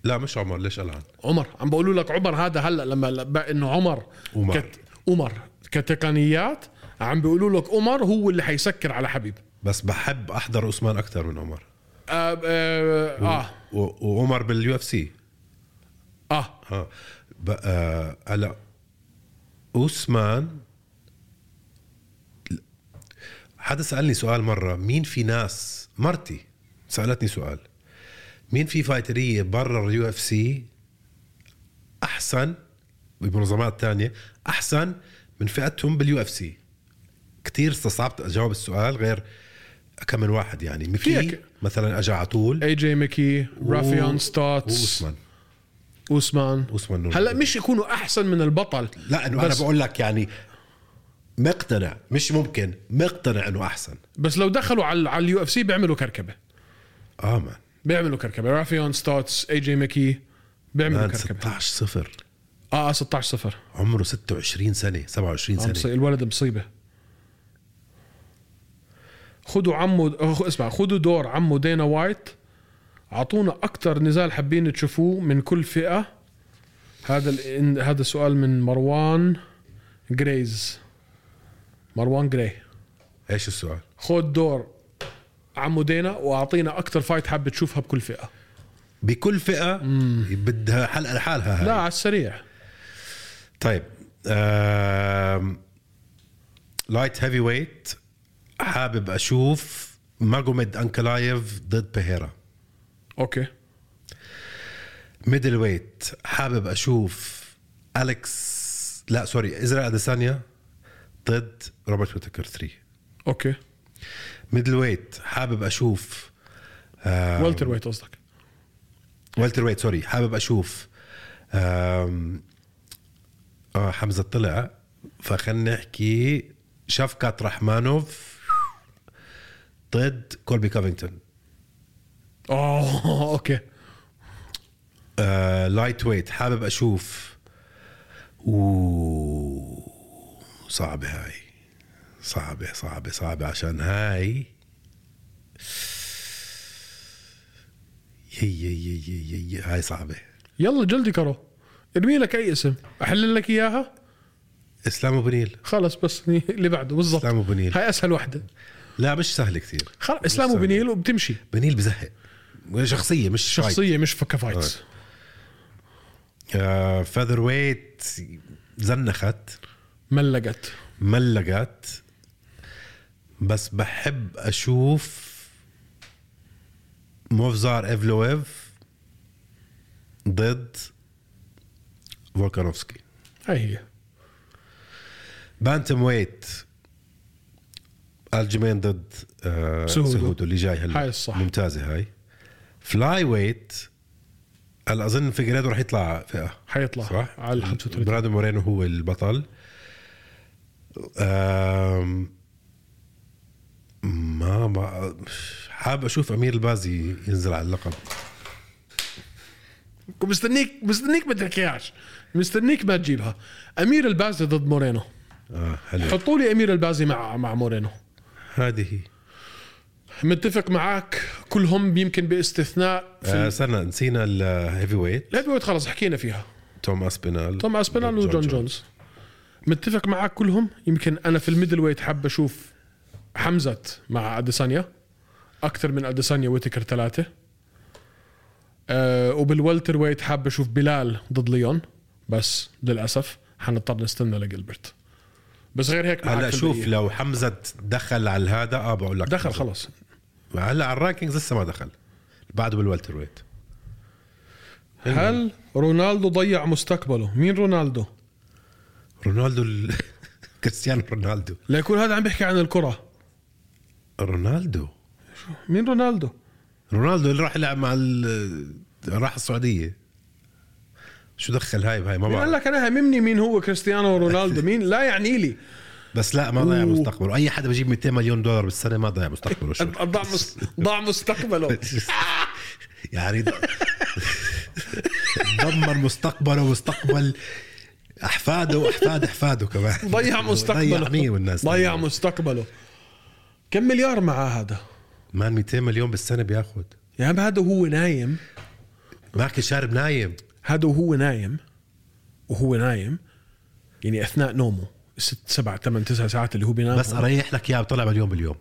[SPEAKER 3] لا مش عمر ليش العن
[SPEAKER 2] عمر عم بقولوا لك عمر هذا هلا لما لما- انه عمر
[SPEAKER 3] عمر.
[SPEAKER 2] عمر كتقنيات عم بيقولوا لك عمر هو اللي حيسكر على حبيب
[SPEAKER 3] بس بحب احضر عثمان اكثر من عمر
[SPEAKER 2] آه, آه, اه
[SPEAKER 3] و- وعمر باليو اف سي
[SPEAKER 2] اه
[SPEAKER 3] اه بقى هلا اوسمان حدا سالني سؤال مره مين في ناس مرتي سالتني سؤال مين في فايتريه برا اليو اف سي احسن بمنظمات تانية احسن من فئتهم باليو اف سي كثير استصعبت اجاوب السؤال غير كم من واحد يعني مكي
[SPEAKER 2] فيك.
[SPEAKER 3] مثلا اجى على طول
[SPEAKER 2] اي جي ميكي رافيون ستوتس
[SPEAKER 3] واسمان
[SPEAKER 2] اوسمان
[SPEAKER 3] أوسمان نور.
[SPEAKER 2] هلا مش يكونوا احسن من البطل
[SPEAKER 3] لا انه انا
[SPEAKER 2] بس,
[SPEAKER 3] بقول لك يعني مقتنع مش ممكن مقتنع انه احسن
[SPEAKER 2] بس لو دخلوا على على اليو اف سي بيعملوا كركبه
[SPEAKER 3] اه مان
[SPEAKER 2] بيعملوا كركبه رافيون ستوتس اي جي ميكي بيعملوا
[SPEAKER 3] مان
[SPEAKER 2] كركبه
[SPEAKER 3] 16 صفر
[SPEAKER 2] اه آه، 16 صفر
[SPEAKER 3] عمره 26 سنه 27
[SPEAKER 2] آه، مصي-
[SPEAKER 3] سنه
[SPEAKER 2] الولد مصيبه خدوا عمو أخ- اسمع خدوا دور عمو دينا وايت اعطونا اكثر نزال حابين تشوفوه من كل فئه هذا ال... إن- هذا سؤال من مروان جريز مروان جراي
[SPEAKER 3] ايش السؤال؟
[SPEAKER 2] خد دور عمو دينا واعطينا اكثر فايت حابب تشوفها بكل فئه
[SPEAKER 3] بكل فئه بدها حلقه لحالها هاي.
[SPEAKER 2] لا على السريع
[SPEAKER 3] طيب آم... لايت هيفي ويت حابب اشوف ماجوميد انكلايف ضد بهيرا
[SPEAKER 2] اوكي
[SPEAKER 3] ميدل ويت حابب اشوف اليكس لا سوري ازرائيل اديسانيا ضد روبرت ويتكر 3
[SPEAKER 2] اوكي
[SPEAKER 3] ميدل ويت حابب اشوف
[SPEAKER 2] والتر ويت قصدك
[SPEAKER 3] والتر ويت سوري حابب اشوف آم، آه حمزه طلع فخلنا نحكي شفكات رحمانوف ضد كولبي كوفينغتون
[SPEAKER 2] اه اوكي
[SPEAKER 3] آه، لايت ويت حابب اشوف اوه صعبه هاي صعبه صعبه صعبه عشان هاي يي يي يي يي- يي- يي هاي صعبه
[SPEAKER 2] يلا جلدي كرو ارمي لك اي اسم احلل لك اياها
[SPEAKER 3] اسلام ابو نيل
[SPEAKER 2] خلص بس اللي بعده بالضبط
[SPEAKER 3] إسلام وبنيل.
[SPEAKER 2] هاي اسهل وحده
[SPEAKER 3] لا مش سهل كثير
[SPEAKER 2] خل... اسلام
[SPEAKER 3] سهل.
[SPEAKER 2] وبنيل وبتمشي
[SPEAKER 3] بنيل بزهق شخصيه مش
[SPEAKER 2] شخصيه مش فكه فايتس
[SPEAKER 3] فاذر ويت آه، زنخت
[SPEAKER 2] ملقت
[SPEAKER 3] ملقت بس بحب اشوف موفزار ايفلويف ضد فولكانوفسكي
[SPEAKER 2] هاي هي
[SPEAKER 3] بانتم ويت الجيمين ضد آه
[SPEAKER 2] سهودو.
[SPEAKER 3] سهودو اللي جاي هلا
[SPEAKER 2] هاي الصح.
[SPEAKER 3] ممتازه هاي فلاي ويت هلا اظن فيجريدو رح يطلع فئه
[SPEAKER 2] حيطلع
[SPEAKER 3] صح
[SPEAKER 2] على ال 35
[SPEAKER 3] برادو مورينو هو البطل آم، ما بع- حاب اشوف امير البازي ينزل على اللقب
[SPEAKER 2] مستنيك مستنيك ما تحكيهاش مستنيك ما تجيبها امير البازي ضد مورينو
[SPEAKER 3] اه حلو
[SPEAKER 2] حطوا لي امير البازي مع مع مورينو
[SPEAKER 3] هذه هي
[SPEAKER 2] متفق معك كلهم يمكن باستثناء في
[SPEAKER 3] آه،
[SPEAKER 2] ال-
[SPEAKER 3] استنى نسينا الهيفي ويت
[SPEAKER 2] الهيفي ويت خلص حكينا فيها
[SPEAKER 3] توم اسبينال
[SPEAKER 2] توم اسبينال وجون جونز متفق معك كلهم يمكن انا في الميدل ويت حاب اشوف حمزه مع اديسانيا اكثر من اديسانيا ويتكر ثلاثه أه وبالولتر ويت حاب اشوف بلال ضد ليون بس للاسف حنضطر نستنى لجلبرت بس غير هيك معك
[SPEAKER 3] هلا
[SPEAKER 2] في
[SPEAKER 3] شوف
[SPEAKER 2] البقية.
[SPEAKER 3] لو حمزه دخل على الهذا اه بقول لك
[SPEAKER 2] دخل خلص
[SPEAKER 3] هلا على الرانكينجز لسه ما دخل بعده بالوالتر ويت
[SPEAKER 2] هل رونالدو ضيع مستقبله مين رونالدو
[SPEAKER 3] رونالدو ال... كريستيانو رونالدو
[SPEAKER 2] ليكون هذا عم بيحكي عن الكره
[SPEAKER 3] رونالدو
[SPEAKER 2] مين رونالدو
[SPEAKER 3] رونالدو اللي راح يلعب مع ال... راح السعوديه شو دخل هاي بهاي ما
[SPEAKER 2] مين قال
[SPEAKER 3] بعرف
[SPEAKER 2] لك انا هممني مين هو كريستيانو رونالدو مين لا يعني لي
[SPEAKER 3] بس لا ما ضيع
[SPEAKER 2] أوه.
[SPEAKER 3] مستقبله اي حدا بجيب 200 مليون دولار بالسنه ما ضيع مستقبله شو
[SPEAKER 2] ضاع مس- ضاع مستقبله
[SPEAKER 3] يعني ض- دمر مستقبله ومستقبل احفاده واحفاد احفاده كمان
[SPEAKER 2] ضيع مستقبله
[SPEAKER 3] ضيع مين والناس
[SPEAKER 2] ضيع مستقبله كم مليار معاه هذا
[SPEAKER 3] مان 200 مليون بالسنه بياخد
[SPEAKER 2] يا عم هذا وهو نايم
[SPEAKER 3] معك الشارب نايم
[SPEAKER 2] هذا وهو نايم وهو نايم يعني اثناء نومه ست سبع ثمان تسع ساعات اللي هو بينام
[SPEAKER 3] بس اريح لك اياه بطلع مليون باليوم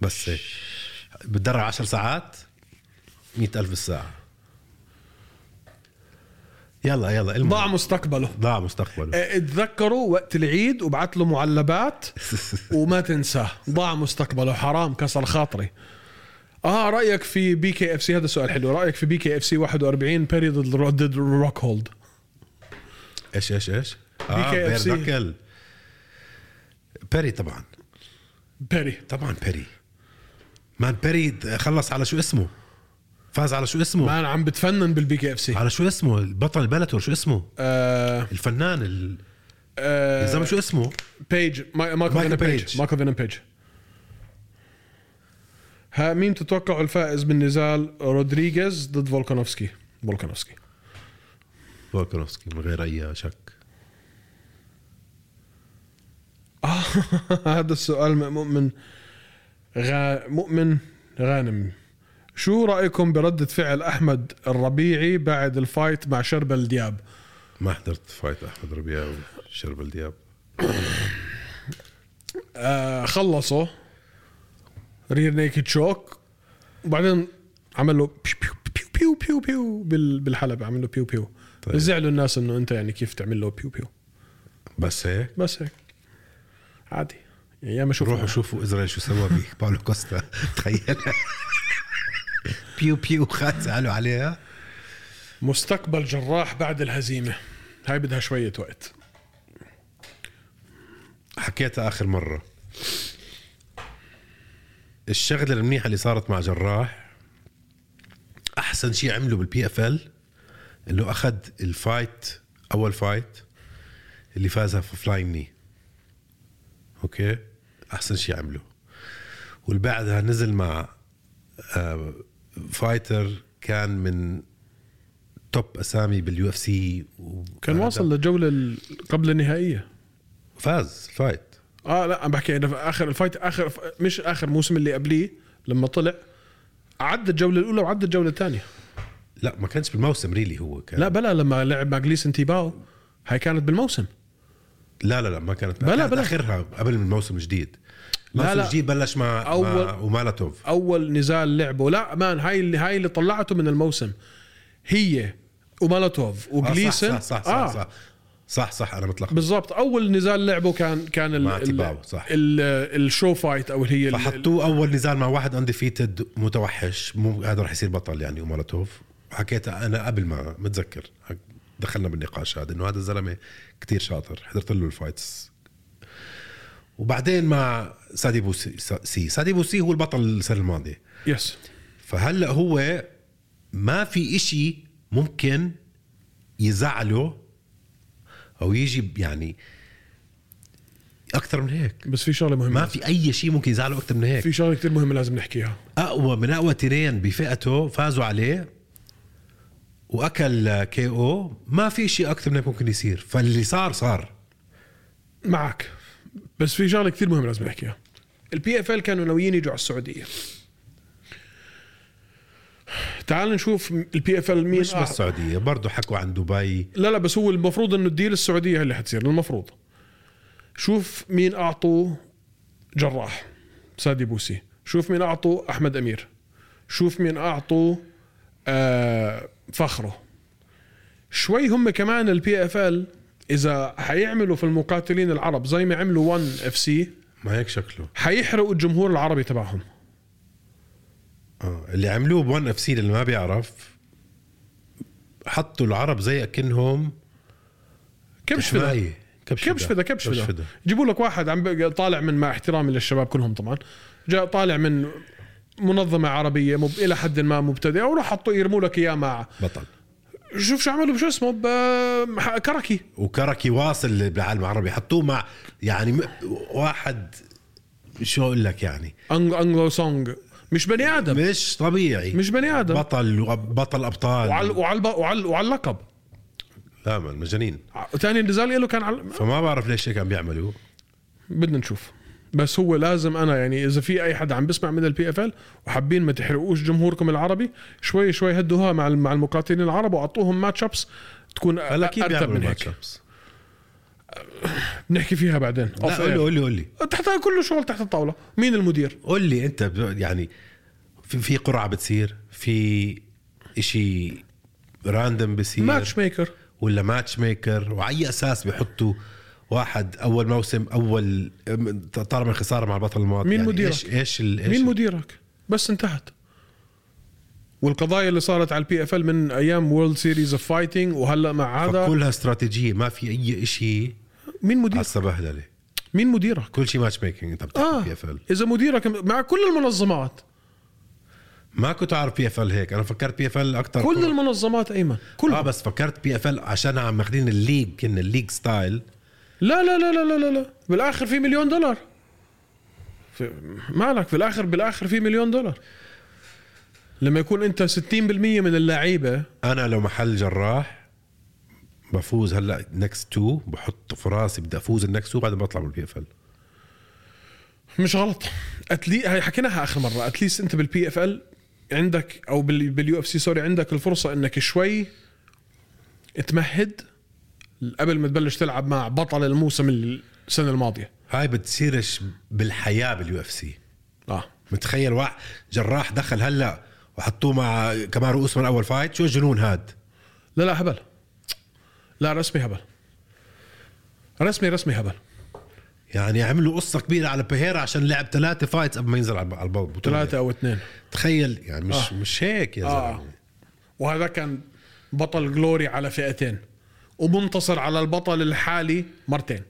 [SPEAKER 3] بس هيك بتدرب 10 ساعات 100000 بالساعه يلا يلا المهم.
[SPEAKER 2] ضاع مستقبله
[SPEAKER 3] ضاع مستقبله
[SPEAKER 2] اه، اتذكره وقت العيد وبعت له معلبات وما تنساه ضاع مستقبله حرام كسر خاطري اه رايك في بي كي اف سي هذا سؤال حلو رايك في بي كي اف سي 41 بيري ضد رو- ضد روك هولد
[SPEAKER 3] ايش ايش ايش؟
[SPEAKER 2] BKFC.
[SPEAKER 3] آه، بير داكل. بيري طبعا
[SPEAKER 2] بيري
[SPEAKER 3] طبعا بيري مان بيري خلص على شو اسمه فاز على شو اسمه
[SPEAKER 2] ما انا عم بتفنن بالبي كي اف سي
[SPEAKER 3] على شو اسمه البطل البلاتور شو اسمه
[SPEAKER 2] آه
[SPEAKER 3] الفنان ال-
[SPEAKER 2] آه
[SPEAKER 3] الزلمه شو اسمه
[SPEAKER 2] بيج ما- مايكل فينن بيج
[SPEAKER 3] بيج.
[SPEAKER 2] مايكل فينن بيج ها مين تتوقع الفائز بالنزال رودريغيز ضد فولكانوفسكي فولكانوفسكي
[SPEAKER 3] فولكنوفسكي من غير اي شك
[SPEAKER 2] آه هذا السؤال من مؤمن غا... مؤمن غانم شو رايكم بردة فعل احمد الربيعي بعد الفايت مع شربل دياب
[SPEAKER 3] ما حضرت فايت احمد ربيع وشرب الدياب
[SPEAKER 2] آه خلصوا رير نيكد شوك وبعدين عمل له بيو بيو بيو بيو بيو, بيو بال... بالحلبة عمل له بيو بيو
[SPEAKER 3] طيب.
[SPEAKER 2] طيب. زعلوا الناس انه انت يعني كيف تعمل له بيو بيو
[SPEAKER 3] بس هيك
[SPEAKER 2] بس هيك عادي يعني ياما شوف
[SPEAKER 3] روحوا شوفوا اسرائيل شو سوى بباولو كوستا تخيل بيو بيو خد سالوا عليها
[SPEAKER 2] مستقبل جراح بعد الهزيمة هاي بدها شوية وقت
[SPEAKER 3] حكيتها اخر مره الشغله المنيحه اللي صارت مع جراح احسن شيء عمله بالبي اف ال انه اخذ الفايت اول فايت اللي فازها في فلاين ني اوكي احسن شيء عمله واللي بعدها نزل مع آه، فايتر كان من توب اسامي باليو اف سي
[SPEAKER 2] كان
[SPEAKER 3] آه،
[SPEAKER 2] واصل للجولة ال- قبل النهائية
[SPEAKER 3] فاز الفايت
[SPEAKER 2] اه لا عم بحكي انا في اخر الفايت اخر ف- مش اخر موسم اللي قبليه لما طلع عدى الجولة الأولى وعدى الجولة الثانية
[SPEAKER 3] لا ما كانش بالموسم ريلي هو كان
[SPEAKER 2] لا بلا لما لعب مع جليسن تيباو هاي كانت بالموسم
[SPEAKER 3] لا لا لا ما كانت
[SPEAKER 2] بلا-
[SPEAKER 3] بلا كانت
[SPEAKER 2] بلا.
[SPEAKER 3] بلا اخرها قبل من الموسم الجديد الموسم
[SPEAKER 2] لا.
[SPEAKER 3] الجديد بلش مع
[SPEAKER 2] أول-
[SPEAKER 3] أول مع ومالاتوف
[SPEAKER 2] أول نزال لعبه لا مان هاي اللي هاي اللي طلعته من الموسم هي ومالاتوف وجليسن
[SPEAKER 3] آه صح صح صح, آه. صح صح صح انا متلخبط
[SPEAKER 2] بالضبط اول نزال لعبه كان كان ال
[SPEAKER 3] مع
[SPEAKER 2] ال-
[SPEAKER 3] تيباو، صح.
[SPEAKER 2] ال الشو فايت او اللي هي ال-
[SPEAKER 3] فحطوه اول نزال مع واحد انديفيتد متوحش مو هذا رح يصير بطل يعني ومالاتوف حكيت انا قبل ما متذكر حك- دخلنا بالنقاش هذا انه هذا الزلمه كتير شاطر حضرت له الفايتس وبعدين مع سادي بوسي سي سادي بوسي هو البطل السنه الماضيه
[SPEAKER 2] يس
[SPEAKER 3] فهلا هو ما في إشي ممكن يزعله او يجي يعني اكثر من هيك
[SPEAKER 2] بس في شغله مهمه
[SPEAKER 3] ما في اي شيء ممكن يزعله اكثر من هيك
[SPEAKER 2] في شغله كثير مهمه لازم نحكيها
[SPEAKER 3] اقوى من اقوى تنين بفئته فازوا عليه واكل كي او ما في شيء اكثر من هيك ممكن يصير فاللي صار صار
[SPEAKER 2] معك بس في شغله كثير مهمه لازم نحكيها البي اف ال كانوا ناويين يجوا على السعوديه تعال نشوف البي اف ال مين
[SPEAKER 3] مش بس
[SPEAKER 2] أح-
[SPEAKER 3] السعوديه برضه حكوا عن دبي
[SPEAKER 2] لا لا بس هو المفروض انه الديل السعوديه اللي حتصير المفروض شوف مين اعطوه جراح سادي بوسي شوف مين اعطوه احمد امير شوف مين اعطوه آه فخره شوي هم كمان البي اف ال اذا حيعملوا في المقاتلين العرب زي ما عملوا 1 اف سي
[SPEAKER 3] ما هيك شكله
[SPEAKER 2] حيحرقوا الجمهور العربي تبعهم
[SPEAKER 3] آه، اللي عملوه بون اف سي اللي ما بيعرف حطوا العرب زي اكنهم
[SPEAKER 2] كبش فدا
[SPEAKER 3] حماية. كبش
[SPEAKER 2] كبش فدا كبش فدا جيبوا لك واحد عم بق- طالع من مع احترامي للشباب كلهم طبعا جاء طالع من منظمه عربيه مب... الى حد ما مبتدئه وراح حطوا يرموا لك اياه مع
[SPEAKER 3] بطل
[SPEAKER 2] شوف شو عملوا بشو اسمه ب... مح- كركي
[SPEAKER 3] وكركي واصل بالعالم العربي حطوه مع يعني م- واحد شو اقول لك يعني
[SPEAKER 2] أنج... انجلو سونج مش بني ادم
[SPEAKER 3] مش طبيعي
[SPEAKER 2] مش بني ادم
[SPEAKER 3] بطل وبطل ابطال
[SPEAKER 2] وعلى وعلى وعلى وعلى اللقب
[SPEAKER 3] لا من مجانين
[SPEAKER 2] ثاني نزال له كان على...
[SPEAKER 3] فما بعرف ليش هيك عم بيعملوا
[SPEAKER 2] بدنا نشوف بس هو لازم انا يعني اذا في اي حدا عم بسمع من البي اف ال وحابين ما تحرقوش جمهوركم العربي شوي شوي هدوها مع مع المقاتلين العرب واعطوهم ماتش ابس تكون
[SPEAKER 3] هلا كيف
[SPEAKER 2] ارتب
[SPEAKER 3] بيعملوا
[SPEAKER 2] من
[SPEAKER 3] ماتش
[SPEAKER 2] هيك
[SPEAKER 3] ابس؟
[SPEAKER 2] بنحكي فيها بعدين
[SPEAKER 3] لا
[SPEAKER 2] Off
[SPEAKER 3] قول لي
[SPEAKER 2] air.
[SPEAKER 3] قول لي قول لي
[SPEAKER 2] تحت كله شغل تحت الطاوله مين المدير
[SPEAKER 3] قول لي انت ب- يعني في, في قرعه بتصير في اشي راندم بصير
[SPEAKER 2] ماتش ميكر
[SPEAKER 3] ولا ماتش ميكر وعلى اي اساس بحطوا واحد اول موسم اول ام- طالما الخساره مع البطل الماضي
[SPEAKER 2] مين
[SPEAKER 3] يعني
[SPEAKER 2] مديرك؟
[SPEAKER 3] ايش ايش, ال- إيش
[SPEAKER 2] مين
[SPEAKER 3] ال-
[SPEAKER 2] مديرك بس انتهت والقضايا اللي صارت على البي اف ال من ايام وورلد سيريز اوف فايتنج وهلا مع هذا
[SPEAKER 3] فكلها استراتيجيه ما في اي شيء
[SPEAKER 2] مين مدير
[SPEAKER 3] هسه بهدله
[SPEAKER 2] مين مديرك
[SPEAKER 3] كل شيء ماتش ميكينج انت بتحكي
[SPEAKER 2] اه
[SPEAKER 3] بي اف ال
[SPEAKER 2] اذا مديرك مع كل المنظمات
[SPEAKER 3] ما كنت اعرف بي اف ال هيك انا فكرت بي اف ال اكثر
[SPEAKER 2] كل المنظمات ايمن كل
[SPEAKER 3] اه بس فكرت بي اف ال عشان عم ماخذين الليج كنا الليج ستايل
[SPEAKER 2] لا لا لا لا لا لا, لا. بالاخر في مليون دولار في... مالك في الاخر بالاخر في مليون دولار لما يكون انت 60% من اللعيبه
[SPEAKER 3] انا لو محل جراح بفوز هلا نكست تو بحط في راسي بدي افوز النكست تو بعدين بطلع من البي اف ال
[SPEAKER 2] مش غلط اتلي هي حكيناها اخر مره اتليست انت بالبي اف ال عندك او بال- باليو اف سي سوري عندك الفرصه انك شوي تمهد قبل ما تبلش تلعب مع بطل الموسم السنه الماضيه
[SPEAKER 3] هاي بتصيرش بالحياه باليو اف سي
[SPEAKER 2] اه
[SPEAKER 3] متخيل واحد جراح دخل هلا وحطوه مع كمارو اوسمان اول فايت شو الجنون هاد
[SPEAKER 2] لا لا هبل لا رسمي هبل رسمي رسمي هبل
[SPEAKER 3] يعني عملوا قصه كبيره على بيهيرا عشان لعب ثلاثه فايتس قبل ما ينزل على الب- على البطوله
[SPEAKER 2] ثلاثة او اثنين
[SPEAKER 3] تخيل يعني مش
[SPEAKER 2] آه.
[SPEAKER 3] آه. مش هيك يا
[SPEAKER 2] آه.
[SPEAKER 3] زلمه
[SPEAKER 2] وهذا كان بطل جلوري على فئتين ومنتصر على البطل الحالي مرتين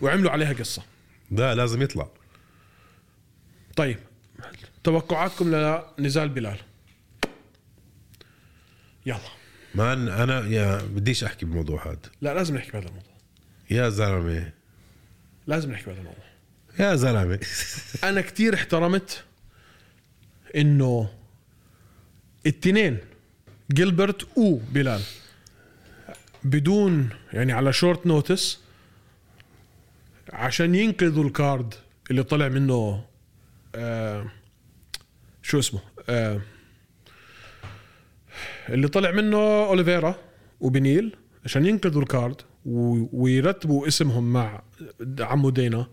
[SPEAKER 2] وعملوا عليها قصه
[SPEAKER 3] لا لازم يطلع
[SPEAKER 2] طيب توقعاتكم لنزال بلال يلا
[SPEAKER 3] مان انا يا بديش احكي بالموضوع هذا
[SPEAKER 2] لا لازم نحكي بهذا الموضوع
[SPEAKER 3] يا زلمه
[SPEAKER 2] لازم نحكي بهذا الموضوع
[SPEAKER 3] يا زلمه
[SPEAKER 2] انا كتير احترمت انه التنين جيلبرت وبلال بدون يعني على شورت نوتس عشان ينقذوا الكارد اللي طلع منه آه شو اسمه آه اللي طلع منه اوليفيرا وبنيل عشان ينقذوا الكارد و- ويرتبوا اسمهم مع عمو دينا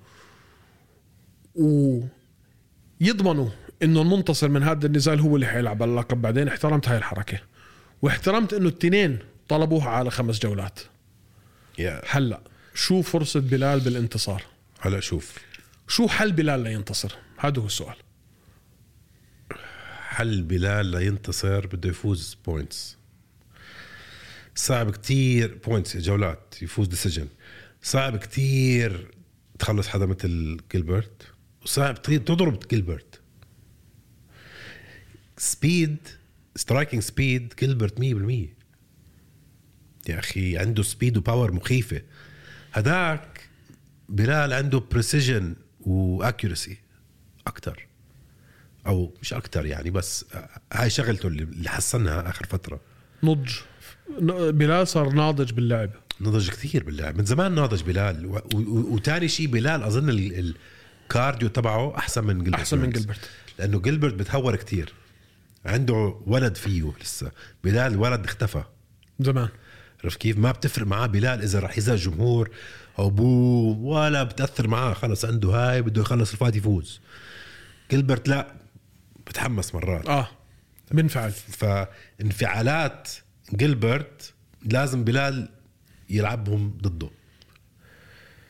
[SPEAKER 2] ويضمنوا انه المنتصر من هذا النزال هو اللي حيلعب على اللقب بعدين احترمت هاي الحركه واحترمت انه التنين طلبوها على خمس جولات
[SPEAKER 3] يا
[SPEAKER 2] هلا شو فرصه بلال بالانتصار
[SPEAKER 3] هلا شوف
[SPEAKER 2] شو حل بلال لينتصر هذا هو السؤال
[SPEAKER 3] حل بلال لينتصر بده يفوز بوينتس صعب كتير بوينتس جولات يفوز ديسيجن صعب كتير تخلص حدا مثل جيلبرت وصعب كتير تضرب جيلبرت سبيد سترايكنج سبيد جيلبرت 100% يا اخي عنده سبيد وباور مخيفه هداك بلال عنده بريسيجن واكيورسي اكثر او مش اكثر يعني بس هاي شغلته اللي اللي حسنها اخر فتره
[SPEAKER 2] نضج ن- بلال صار ناضج باللعب
[SPEAKER 3] نضج كثير باللعب من زمان ناضج بلال و- و- وتاني شيء بلال اظن ال- الكارديو تبعه احسن من جلبرت
[SPEAKER 2] أحسن من
[SPEAKER 3] لورنس.
[SPEAKER 2] جلبرت.
[SPEAKER 3] لانه جلبرت بتهور كثير عنده ولد فيه لسه بلال ولد اختفى
[SPEAKER 2] زمان
[SPEAKER 3] عرفت كيف ما بتفرق معاه بلال اذا رح يزعج جمهور او بو ولا بتاثر معاه خلص عنده هاي بده يخلص الفايت يفوز جلبرت لا بتحمس مرات
[SPEAKER 2] اه بنفعل
[SPEAKER 3] فانفعالات جيلبرت لازم بلال يلعبهم ضده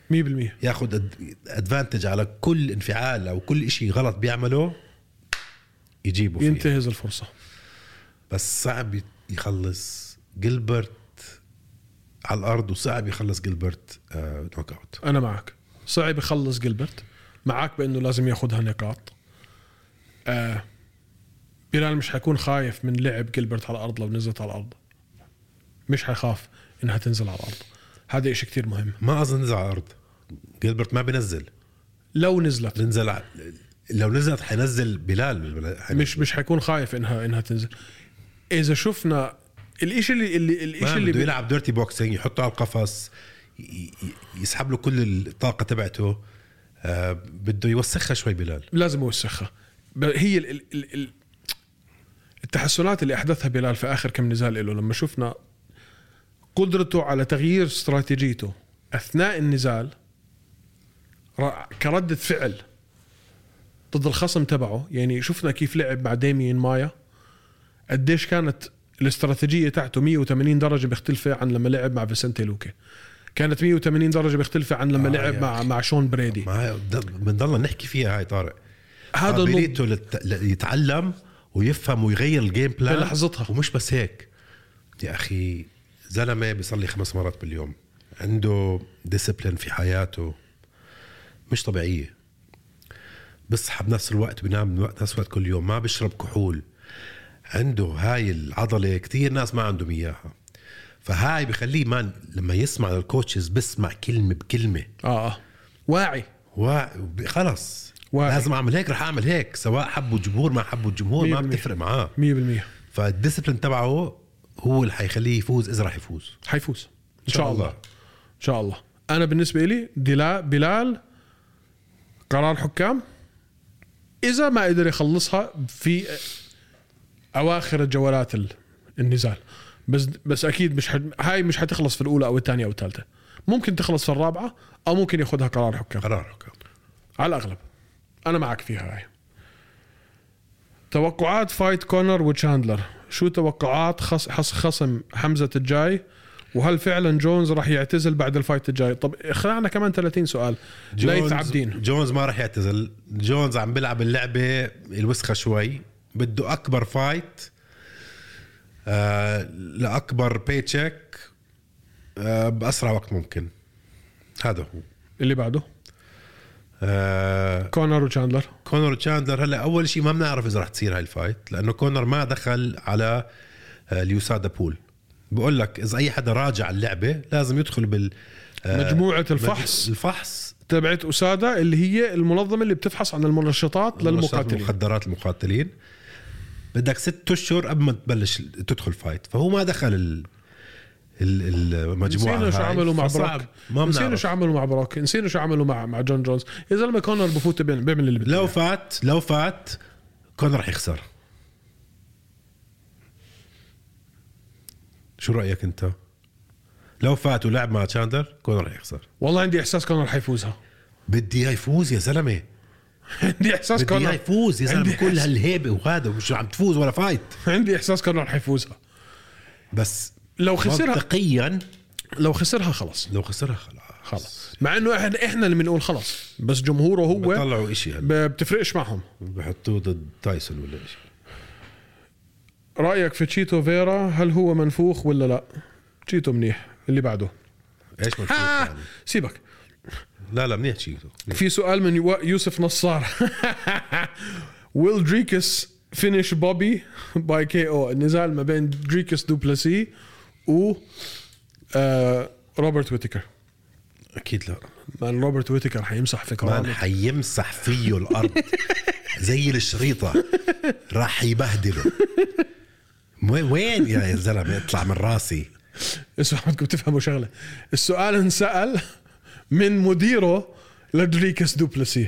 [SPEAKER 2] 100%
[SPEAKER 3] ياخذ ادفانتج على كل انفعال او كل شيء غلط بيعمله يجيبه فيه ينتهي.
[SPEAKER 2] ينتهز الفرصه
[SPEAKER 3] بس صعب يخلص جيلبرت على الارض وصعب يخلص جيلبرت آه نوك اوت
[SPEAKER 2] انا معك صعب يخلص جلبرت معك بانه لازم ياخذها نقاط آه بلال مش حيكون خايف من لعب جلبرت على الارض لو نزلت على الارض مش حيخاف انها تنزل على الارض هذا إشي كتير مهم
[SPEAKER 3] ما اظن نزل على الارض جيلبرت ما بينزل
[SPEAKER 2] لو نزلت
[SPEAKER 3] بنزل على... لو نزلت حينزل بلال
[SPEAKER 2] مش مش حيكون خايف انها انها تنزل اذا شفنا الإشي اللي اللي الإشي
[SPEAKER 3] ما
[SPEAKER 2] اللي
[SPEAKER 3] بده
[SPEAKER 2] بي-
[SPEAKER 3] يلعب ديرتي بوكسينج يحطه على القفص ي- ي- يسحب له كل الطاقه تبعته آه بده يوسخها شوي بلال
[SPEAKER 2] لازم يوسخها ب- هي ال ال ال ال التحسنات اللي احدثها بلال في اخر كم نزال له لما شفنا قدرته على تغيير استراتيجيته اثناء النزال ر- كردة فعل ضد الخصم تبعه يعني شفنا كيف لعب مع ديمين مايا قديش كانت الاستراتيجيه تاعته 180 درجه مختلفه عن لما لعب مع فيسنتي لوكا كانت 180 درجه مختلفه عن لما
[SPEAKER 3] آه،
[SPEAKER 2] آه لعب
[SPEAKER 3] يا
[SPEAKER 2] مع
[SPEAKER 3] أخي.
[SPEAKER 2] مع شون بريدي
[SPEAKER 3] ما بنضلنا نحكي فيها هاي طارق
[SPEAKER 2] هذا النضج
[SPEAKER 3] قابليته لت... ل- يتعلم ويفهم ويغير الجيم بلان
[SPEAKER 2] بلحظتها.
[SPEAKER 3] ومش بس هيك يا اخي زلمه بيصلي خمس مرات باليوم عنده ديسبلين في حياته مش طبيعيه بصحى بنفس الوقت بنام بنفس الوقت كل يوم ما بشرب كحول عنده هاي العضله كثير ناس ما عندهم اياها فهاي بخليه مان لما يسمع للكوتشز بسمع كلمه بكلمه
[SPEAKER 2] اه اه واعي
[SPEAKER 3] و... خلص
[SPEAKER 2] واعي.
[SPEAKER 3] لازم اعمل هيك رح اعمل هيك سواء حبوا الجمهور ما حبوا الجمهور
[SPEAKER 2] مية
[SPEAKER 3] ما
[SPEAKER 2] بالمية.
[SPEAKER 3] بتفرق معاه
[SPEAKER 2] 100%
[SPEAKER 3] فالديسبلين تبعه هو اللي حيخليه يفوز اذا رح يفوز
[SPEAKER 2] حيفوز ان شاء الله ان شاء الله انا بالنسبه لي دلا بلال قرار حكام اذا ما قدر يخلصها في اواخر الجولات ال- النزال بس بس اكيد مش حد هاي مش حتخلص في الاولى او الثانيه او الثالثه ممكن تخلص في الرابعه او ممكن ياخذها قرار حكام
[SPEAKER 3] قرار حكام
[SPEAKER 2] على الاغلب انا معك فيها هاي توقعات فايت كونر وتشاندلر شو توقعات خص خص خصم حمزه الجاي وهل فعلا جونز راح يعتزل بعد الفايت الجاي طب خلعنا كمان 30 سؤال ليث عبدين
[SPEAKER 3] جونز ما رح يعتزل جونز عم بيلعب اللعبه الوسخه شوي بده اكبر فايت آه لاكبر بيتشيك آه باسرع وقت ممكن هذا هو
[SPEAKER 2] اللي بعده
[SPEAKER 3] آه
[SPEAKER 2] كونر وتشاندلر
[SPEAKER 3] كونر تشاندلر هلا اول شيء ما بنعرف اذا رح تصير هاي الفايت لانه كونر ما دخل على آه، اليوسادا بول بقول لك اذا اي حدا راجع اللعبه لازم يدخل بال آه،
[SPEAKER 2] مجموعة الفحص.
[SPEAKER 3] مج- الفحص
[SPEAKER 2] تبعت اساده اللي هي المنظمه اللي بتفحص عن المنشطات للمقاتلين
[SPEAKER 3] المخدرات المقاتلين بدك ست اشهر قبل ما تبلش تدخل فايت فهو ما دخل ال ال- المجموعه
[SPEAKER 2] نسينا شو
[SPEAKER 3] هاي.
[SPEAKER 2] عملوا مع
[SPEAKER 3] فصعب.
[SPEAKER 2] بروك
[SPEAKER 3] ما
[SPEAKER 2] نسينا
[SPEAKER 3] بنعرف
[SPEAKER 2] شو عملوا مع بروك نسينا شو عملوا مع مع جون جونز يا زلمه كونر بفوت بين- بيعمل اللي بده
[SPEAKER 3] لو فات لو فات كون رح يخسر شو رايك انت لو فات ولعب مع تشاندر كون رح يخسر
[SPEAKER 2] والله عندي احساس كونر حيفوزها
[SPEAKER 3] بدي اياه يفوز يا زلمه
[SPEAKER 2] عندي احساس
[SPEAKER 3] بدي اياه
[SPEAKER 2] كونر
[SPEAKER 3] يفوز يا
[SPEAKER 2] عندي
[SPEAKER 3] زلمه كل
[SPEAKER 2] إحساس-
[SPEAKER 3] هالهيبه وهذا ومش عم تفوز ولا فايت
[SPEAKER 2] عندي احساس كونر حيفوزها
[SPEAKER 3] بس
[SPEAKER 2] لو خسرها
[SPEAKER 3] منطقيا
[SPEAKER 2] لو خسرها خلص
[SPEAKER 3] لو خسرها خلاص
[SPEAKER 2] خلص مع انه احنا احنا اللي بنقول خلص بس جمهوره هو
[SPEAKER 3] بيطلعوا شيء هلا
[SPEAKER 2] ب- بتفرقش معهم
[SPEAKER 3] بحطوه ضد تايسون ولا شيء
[SPEAKER 2] رايك في تشيتو فيرا هل هو منفوخ ولا لا تشيتو منيح اللي بعده
[SPEAKER 3] ايش مفروض
[SPEAKER 2] آه
[SPEAKER 3] يعني
[SPEAKER 2] سيبك
[SPEAKER 3] لا لا منيح شيء
[SPEAKER 2] في سؤال من يو- يوسف نصار ويل دريكس فينيش بوبي باي كي او النزال ما بين دريكس دوبلاسي و آه روبرت ويتكر
[SPEAKER 3] اكيد لا
[SPEAKER 2] مان روبرت ويتكر حيمسح في
[SPEAKER 3] مان
[SPEAKER 2] كرامه
[SPEAKER 3] حيمسح فيه الارض زي الشريطه راح يبهدله وين وين يا زلمه اطلع من راسي
[SPEAKER 2] اسمع بدكم تفهموا شغله السؤال انسال من مديره لدريكس دوبلسي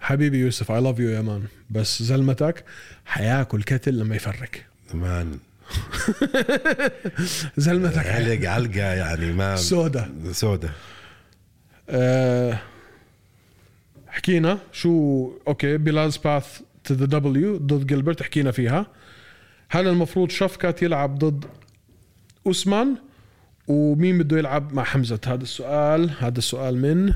[SPEAKER 2] حبيبي يوسف اي لاف يو يا مان بس زلمتك حياكل كتل لما يفرق
[SPEAKER 3] مان
[SPEAKER 2] زلمتك
[SPEAKER 3] علق علقه يعني ما
[SPEAKER 2] سودا
[SPEAKER 3] سودا
[SPEAKER 2] آه، حكينا شو اوكي بلال's باث تو ذا دبليو ضد جilbert حكينا فيها هل المفروض شفكات يلعب ضد اوسمان ومين بده يلعب مع حمزه هذا السؤال هذا السؤال من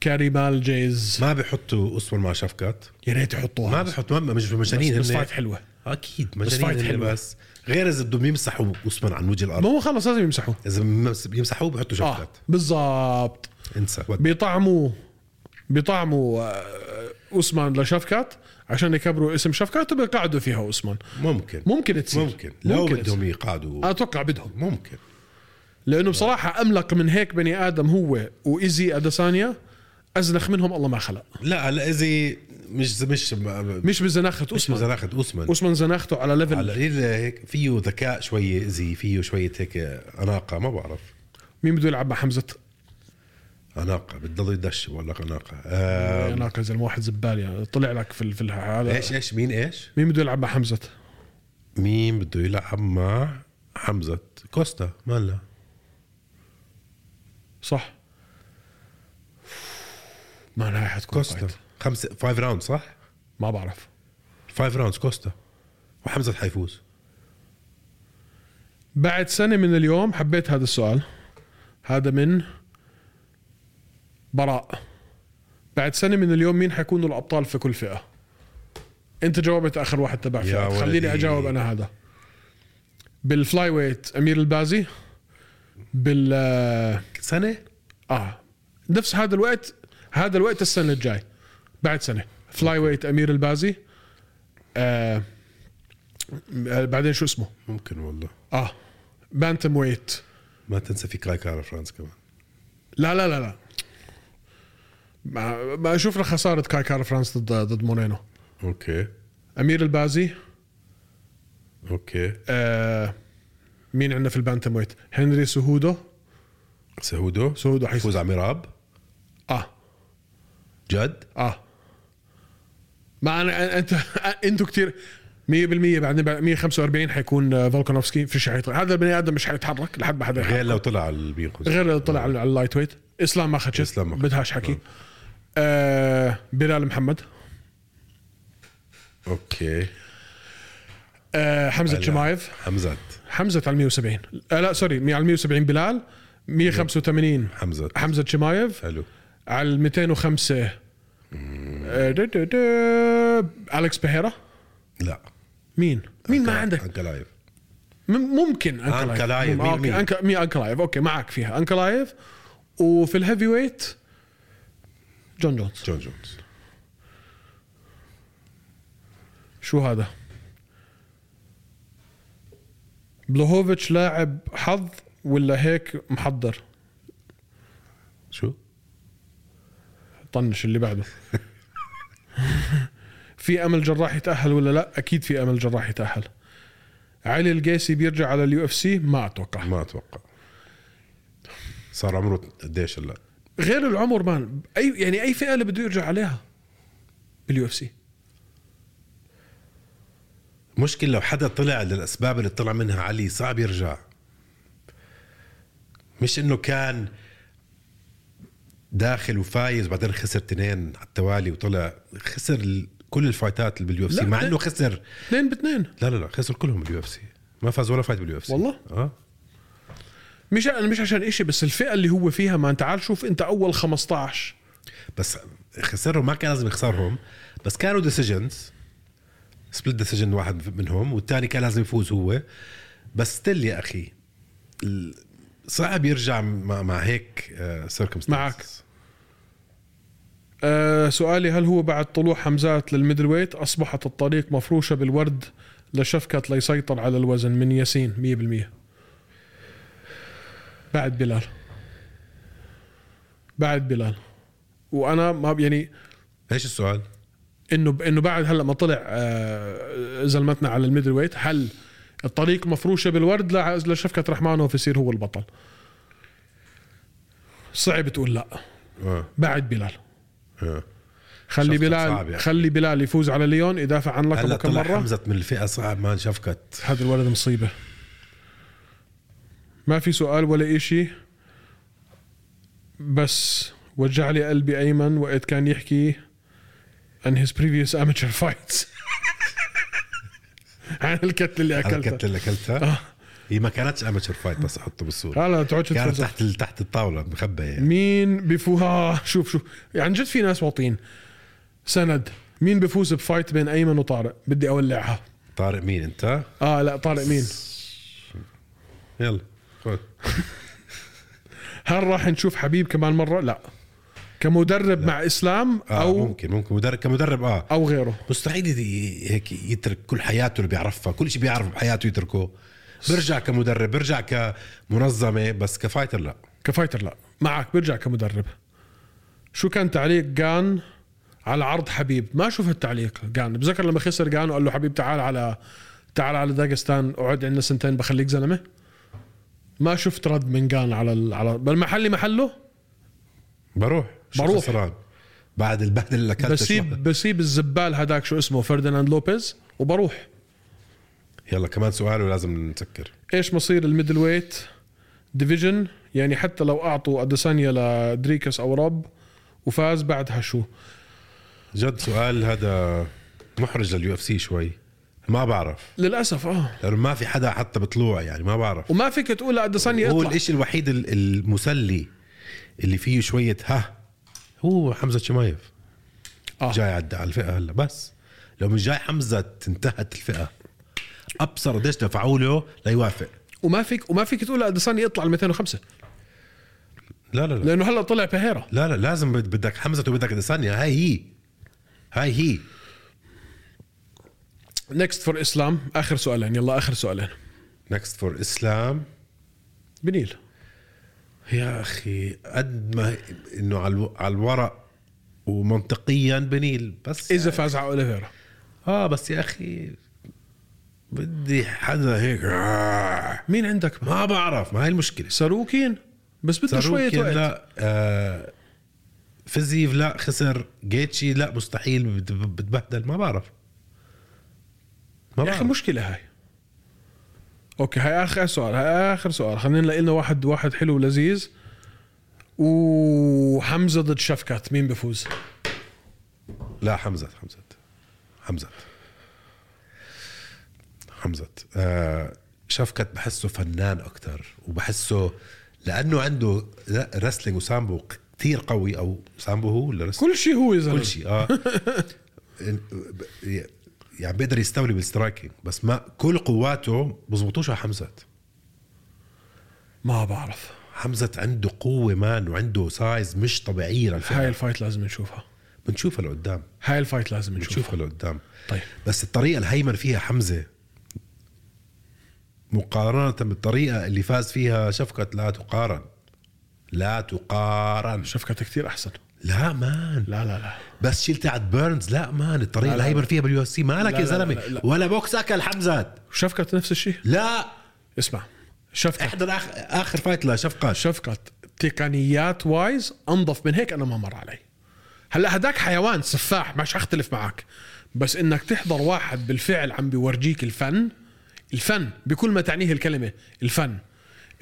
[SPEAKER 2] كاريمال جيز
[SPEAKER 3] ما بحطوا اسطول مع شفكات
[SPEAKER 2] يا ريت يحطوها
[SPEAKER 3] ما بحطوا ما- مش مجانين
[SPEAKER 2] بس, بس
[SPEAKER 3] هن.
[SPEAKER 2] فايت حلوه
[SPEAKER 3] اكيد
[SPEAKER 2] بس فايت
[SPEAKER 3] مجانين هن
[SPEAKER 2] حلوة.
[SPEAKER 3] بس غير اذا بدهم يمسحوا اسطول عن وجه
[SPEAKER 2] ما
[SPEAKER 3] الارض
[SPEAKER 2] هو خلص لازم يمسحوه
[SPEAKER 3] اذا بمس- بيمسحوه بحطوا
[SPEAKER 2] اه
[SPEAKER 3] شفكات
[SPEAKER 2] بالضبط
[SPEAKER 3] انسى
[SPEAKER 2] بيطعموا بيطعموا آه، اوسمان لشفكات عشان يكبروا اسم شفكات وبيقعدوا فيها اوسمان
[SPEAKER 3] ممكن
[SPEAKER 2] ممكن تصير
[SPEAKER 3] ممكن لو
[SPEAKER 2] ممكن
[SPEAKER 3] بدهم يقعدوا
[SPEAKER 2] تصير. آه. اتوقع بدهم
[SPEAKER 3] ممكن
[SPEAKER 2] لانه بصراحه املق من هيك بني ادم هو وايزي اديسانيا ازنخ منهم الله ما خلق
[SPEAKER 3] لا هلا اذا مش مش
[SPEAKER 2] مش بزناخه
[SPEAKER 3] اسمه
[SPEAKER 2] اوسمان
[SPEAKER 3] زناخة اوسمان
[SPEAKER 2] اوسمان زناخته على ليفل
[SPEAKER 3] على القليل هيك فيه ذكاء شوي زي فيه شويه هيك اناقه ما بعرف
[SPEAKER 2] مين بده يلعب مع حمزه
[SPEAKER 3] اناقه بتضل يدش بقول لك اناقه
[SPEAKER 2] يعني
[SPEAKER 3] آه
[SPEAKER 2] هناك زي واحد زبال يعني طلع لك في ال- في هذا
[SPEAKER 3] ايش ايش مين ايش؟
[SPEAKER 2] مين بده يلعب مع حمزه؟
[SPEAKER 3] مين بده يلعب مع حمزه كوستا مالا
[SPEAKER 2] صح ما انا حتكون
[SPEAKER 3] كوستا
[SPEAKER 2] فايت.
[SPEAKER 3] خمسه فايف راوند صح؟
[SPEAKER 2] ما بعرف
[SPEAKER 3] فايف راوندز كوستا وحمزه حيفوز
[SPEAKER 2] بعد سنه من اليوم حبيت هذا السؤال هذا من براء بعد سنه من اليوم مين حيكونوا الابطال في كل فئه انت جاوبت اخر واحد تبع
[SPEAKER 3] يا
[SPEAKER 2] فئه خليني
[SPEAKER 3] ولدي.
[SPEAKER 2] اجاوب انا هذا بالفلاي ويت امير البازي بال
[SPEAKER 3] سنه
[SPEAKER 2] اه نفس هذا الوقت هذا الوقت السنه الجاي بعد سنه فلاي ويت امير البازي آه آه، بعدين شو اسمه
[SPEAKER 3] ممكن والله
[SPEAKER 2] اه بانتم ويت
[SPEAKER 3] ما تنسى في كراي كارا فرانس كمان
[SPEAKER 2] لا لا لا لا ما, ما شفنا خساره كاي كار فرانس ضد ضد مورينو
[SPEAKER 3] اوكي
[SPEAKER 2] امير البازي
[SPEAKER 3] اوكي
[SPEAKER 2] آه مين عندنا في البانتم ويت هنري سهودو
[SPEAKER 3] سهودو
[SPEAKER 2] سهودو حيفوز
[SPEAKER 3] فوز على ميراب
[SPEAKER 2] اه
[SPEAKER 3] جد
[SPEAKER 2] اه ما انا انت انتوا كثير 100% بعدين بعد 145 حيكون آه، فولكانوفسكي فيش حيطلع هذا البني ادم مش حيتحرك لحد ما حدا
[SPEAKER 3] غير
[SPEAKER 2] يحرك.
[SPEAKER 3] لو طلع على البين
[SPEAKER 2] غير لو طلع على على اللايت ويت اسلام ما خدش
[SPEAKER 3] إسلام ما خدش.
[SPEAKER 2] بدهاش حكي آه بلال محمد
[SPEAKER 3] اوكي
[SPEAKER 2] آه حمزه
[SPEAKER 3] هلا.
[SPEAKER 2] جمايف
[SPEAKER 3] حمزه
[SPEAKER 2] حمزه على 170 آه لا سوري مي- على 170 بلال 185
[SPEAKER 3] حمزه
[SPEAKER 2] حمزه شمايف
[SPEAKER 3] حلو
[SPEAKER 2] على 205 آه، دو- دو- دو- الكس بهيرا
[SPEAKER 3] لا
[SPEAKER 2] مين؟ مين ما عندك؟
[SPEAKER 3] انكلايف
[SPEAKER 2] م- ممكن
[SPEAKER 3] أنكلايف، مين- مين؟
[SPEAKER 2] مين مين انكلايف اوكي معك فيها انكلايف وفي الهيفي ويت جون جونز
[SPEAKER 3] جون جونز
[SPEAKER 2] شو هذا؟ بلوهوفيتش لاعب حظ ولا هيك محضر؟
[SPEAKER 3] شو؟
[SPEAKER 2] طنش اللي بعده في امل جراح يتاهل ولا لا اكيد في امل جراح يتاهل علي القيسي بيرجع على اليو اف سي ما اتوقع
[SPEAKER 3] ما اتوقع صار عمره قديش هلا؟
[SPEAKER 2] غير العمر مان اي يعني اي فئه اللي بده يرجع عليها باليو اف سي
[SPEAKER 3] مشكلة لو حدا طلع للأسباب اللي طلع منها علي صعب يرجع مش إنه كان داخل وفايز بعدين خسر تنين على التوالي وطلع خسر ال- كل الفايتات اللي باليو اف سي
[SPEAKER 2] لا،
[SPEAKER 3] مع
[SPEAKER 2] لا.
[SPEAKER 3] إنه خسر
[SPEAKER 2] اثنين باثنين
[SPEAKER 3] لا لا لا خسر كلهم باليو اف سي ما فاز ولا فايت باليو اف سي
[SPEAKER 2] والله؟
[SPEAKER 3] اه
[SPEAKER 2] مش انا مش عشان إشي بس الفئه اللي هو فيها ما تعال شوف انت اول 15
[SPEAKER 3] بس خسرهم ما كان لازم يخسرهم بس كانوا ديسيجنز سبليت ديسيجن واحد منهم والثاني كان لازم يفوز هو بس ستيل يا اخي ال- صعب يرجع مع, مع هيك سيركمستانس
[SPEAKER 2] معك. آه سؤالي هل هو بعد طلوع حمزات للميدل ويت اصبحت الطريق مفروشه بالورد لشفكت ليسيطر على الوزن من ياسين 100% بعد بلال بعد بلال وانا ما يعني
[SPEAKER 3] ايش السؤال؟
[SPEAKER 2] انه انه بعد هلا ما طلع آه زلمتنا على الميدل ويت هل الطريق مفروشه بالورد لع- لشفكت رحمانوف يصير هو البطل صعب تقول لا
[SPEAKER 3] آه.
[SPEAKER 2] بعد بلال
[SPEAKER 3] آه.
[SPEAKER 2] خلي
[SPEAKER 3] شفت صعب
[SPEAKER 2] بلال
[SPEAKER 3] يعني.
[SPEAKER 2] خلي بلال يفوز على ليون يدافع عن
[SPEAKER 3] هلا
[SPEAKER 2] لقبه كم
[SPEAKER 3] طلع
[SPEAKER 2] مره
[SPEAKER 3] حمزه من الفئه صعب ما شفكت
[SPEAKER 2] هذا الولد مصيبه ما في سؤال ولا إشي بس وجع لي قلبي ايمن وقت كان يحكي عن his previous amateur fights عن الكتله اللي
[SPEAKER 3] على
[SPEAKER 2] اكلتها
[SPEAKER 3] الكتله اللي
[SPEAKER 2] آه.
[SPEAKER 3] اكلتها هي ما كانتش اماتشر فايت بس احطه بالصوره
[SPEAKER 2] لا لا تقعدش
[SPEAKER 3] كانت
[SPEAKER 2] تفوز
[SPEAKER 3] تحت ال- تحت الطاوله مخبيه يعني.
[SPEAKER 2] مين بيفوز آه شوف شوف يعني عن جد في ناس واطين سند مين بيفوز بفايت بين ايمن وطارق بدي اولعها
[SPEAKER 3] طارق مين انت؟
[SPEAKER 2] اه لا طارق مين
[SPEAKER 3] يلا خذ
[SPEAKER 2] هل راح نشوف حبيب كمان مره لا كمدرب لا. مع اسلام
[SPEAKER 3] آه
[SPEAKER 2] او
[SPEAKER 3] أو ممكن ممكن مدرب كمدرب اه
[SPEAKER 2] او غيره
[SPEAKER 3] مستحيل يدي- هيك يترك كل حياته اللي بيعرفها كل شيء بيعرفه بحياته يتركه برجع كمدرب برجع كمنظمه بس كفايتر لا
[SPEAKER 2] كفايتر لا معك برجع كمدرب شو كان تعليق جان على عرض حبيب ما شفت التعليق جان بذكر لما خسر جان وقال له حبيب تعال على تعال على داغستان اقعد عندنا سنتين بخليك زلمه ما شفت رد من جان على ال... على بل محلي محله
[SPEAKER 3] بروح شو
[SPEAKER 2] بروح.
[SPEAKER 3] خسران بعد البهدله اللي اكلتها شو-
[SPEAKER 2] بسيب بسيب الزبال هداك شو اسمه فرديناند لوبيز وبروح
[SPEAKER 3] يلا كمان سؤال ولازم نسكر
[SPEAKER 2] ايش مصير الميدل ويت ديفيجن يعني حتى لو اعطوا اديسانيا لدريكس او رب وفاز بعدها شو
[SPEAKER 3] جد سؤال هذا محرج لليو اف سي شوي ما بعرف
[SPEAKER 2] للاسف اه
[SPEAKER 3] لانه ما في حدا حتى بطلوع يعني ما بعرف
[SPEAKER 2] وما فيك تقول لاديسانيا
[SPEAKER 3] هو
[SPEAKER 2] اطلع
[SPEAKER 3] الاشي الوحيد ال- المسلي اللي فيه شويه ها هو حمزه شمايف
[SPEAKER 2] آه.
[SPEAKER 3] جاي عدى على الفئه هلا بس لو مش جاي حمزه انتهت الفئه ابصر قديش دفعوا له ليوافق
[SPEAKER 2] وما فيك وما فيك تقول لاديسانيا اطلع ال 205
[SPEAKER 3] لا لا لا
[SPEAKER 2] لانه هلا طلع بهيرا
[SPEAKER 3] لا لا لازم بد- بدك حمزه وبدك ديسانيا هاي هي هاي هي
[SPEAKER 2] نكست فور اسلام اخر سؤالين يلا اخر سؤالين
[SPEAKER 3] نكست فور اسلام
[SPEAKER 2] بنيل
[SPEAKER 3] يا اخي قد ما انه على الو- على الورق ومنطقيا بنيل بس
[SPEAKER 2] اذا فاز على اوليفيرا
[SPEAKER 3] اه بس يا اخي بدي حدا هيك آه.
[SPEAKER 2] مين عندك
[SPEAKER 3] ما بعرف ما هي المشكله
[SPEAKER 2] ساروكين بس بده شويه
[SPEAKER 3] ساروكيان
[SPEAKER 2] وقت
[SPEAKER 3] لا آه فيزيف لا خسر جيتشي لا مستحيل بت- بتبهدل ما بعرف ما
[SPEAKER 2] يا اخي
[SPEAKER 3] بعرف مش
[SPEAKER 2] مشكله هاي اوكي هاي اخر سؤال هاي اخر سؤال خلينا نلاقي لنا واحد واحد حلو ولذيذ وحمزه ضد شفكات مين بفوز؟
[SPEAKER 3] لا حمزه حمزه حمزه حمزه آه شفكت بحسه فنان اكثر وبحسه لانه عنده ر- رسلينج وسامبو كثير قوي او سامبو هو ولا رسلينج؟
[SPEAKER 2] كل شيء آه. هو يا زلمه
[SPEAKER 3] كل شيء اه يعني بيقدر يستولي بالسترايكينج بس ما كل قواته بزبطوش على حمزه
[SPEAKER 2] ما بعرف
[SPEAKER 3] حمزه عنده قوه مان وعنده سايز مش طبيعيه
[SPEAKER 2] هاي
[SPEAKER 3] للفعل
[SPEAKER 2] الفايت لازم نشوفها
[SPEAKER 3] بنشوفها لقدام
[SPEAKER 2] هاي الفايت لازم نشوفها
[SPEAKER 3] بنشوفها لقدام
[SPEAKER 2] طيب
[SPEAKER 3] بس الطريقه الهيمن فيها حمزه مقارنه بالطريقه اللي فاز فيها شفقت لا تقارن لا تقارن
[SPEAKER 2] شفكات كثير احسن
[SPEAKER 3] لا مان
[SPEAKER 2] لا لا لا
[SPEAKER 3] بس شيل تاعت بيرنز لا مان الطريقه
[SPEAKER 2] لا، لا،
[SPEAKER 3] اللي هيبر فيها باليو اف سي مالك
[SPEAKER 2] لا،
[SPEAKER 3] يا
[SPEAKER 2] لا، لا،
[SPEAKER 3] زلمه
[SPEAKER 2] لا، لا.
[SPEAKER 3] ولا بوكس اكل حمزه
[SPEAKER 2] شفكات نفس الشيء
[SPEAKER 3] لا
[SPEAKER 2] اسمع شفكات
[SPEAKER 3] احضر آخر, اخر فايت لشفقات
[SPEAKER 2] شفكات تقنيات وايز انظف من هيك انا ما مر علي هلا هداك حيوان سفاح مش اختلف معك بس انك تحضر واحد بالفعل عم بيورجيك الفن الفن بكل ما تعنيه الكلمه الفن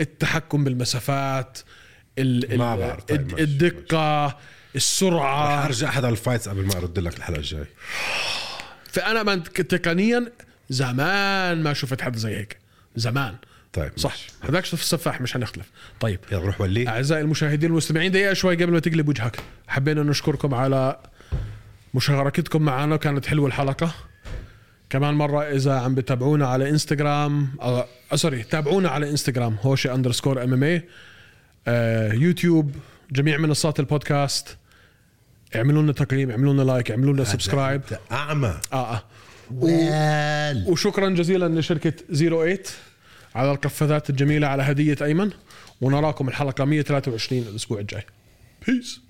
[SPEAKER 2] التحكم بالمسافات ال
[SPEAKER 3] ما
[SPEAKER 2] ال-
[SPEAKER 3] بعرف. طيب،
[SPEAKER 2] الد-
[SPEAKER 3] ماشي،
[SPEAKER 2] الدقه
[SPEAKER 3] رح
[SPEAKER 2] السرعه
[SPEAKER 3] ارجع احضر الفايتس قبل ما ارد لك الحلقه الجاي
[SPEAKER 2] فانا من تقنيا زمان ما شفت حد زي هيك زمان
[SPEAKER 3] طيب
[SPEAKER 2] صح
[SPEAKER 3] ماشي.
[SPEAKER 2] هذاك شوف السفاح مش هنختلف طيب
[SPEAKER 3] يلا روح ولي
[SPEAKER 2] أعزائي المشاهدين والمستمعين دقيقة شوي قبل ما تقلب وجهك حبينا نشكركم على مشاركتكم معنا كانت حلوة الحلقة كمان مرة إذا عم بتابعونا على انستغرام آه، سوري تابعونا على انستغرام هوشي اندرسكور ام ام إيه. آه، يوتيوب جميع منصات البودكاست اعملوا لنا تقييم اعملوا لنا لايك اعملوا لنا سبسكرايب
[SPEAKER 3] أنت اعمى
[SPEAKER 2] اه اه
[SPEAKER 3] وال
[SPEAKER 2] وشكرا جزيلا لشركة زيرو ايت على القفازات الجميلة على هدية أيمن ونراكم الحلقة 123 الأسبوع الجاي Peace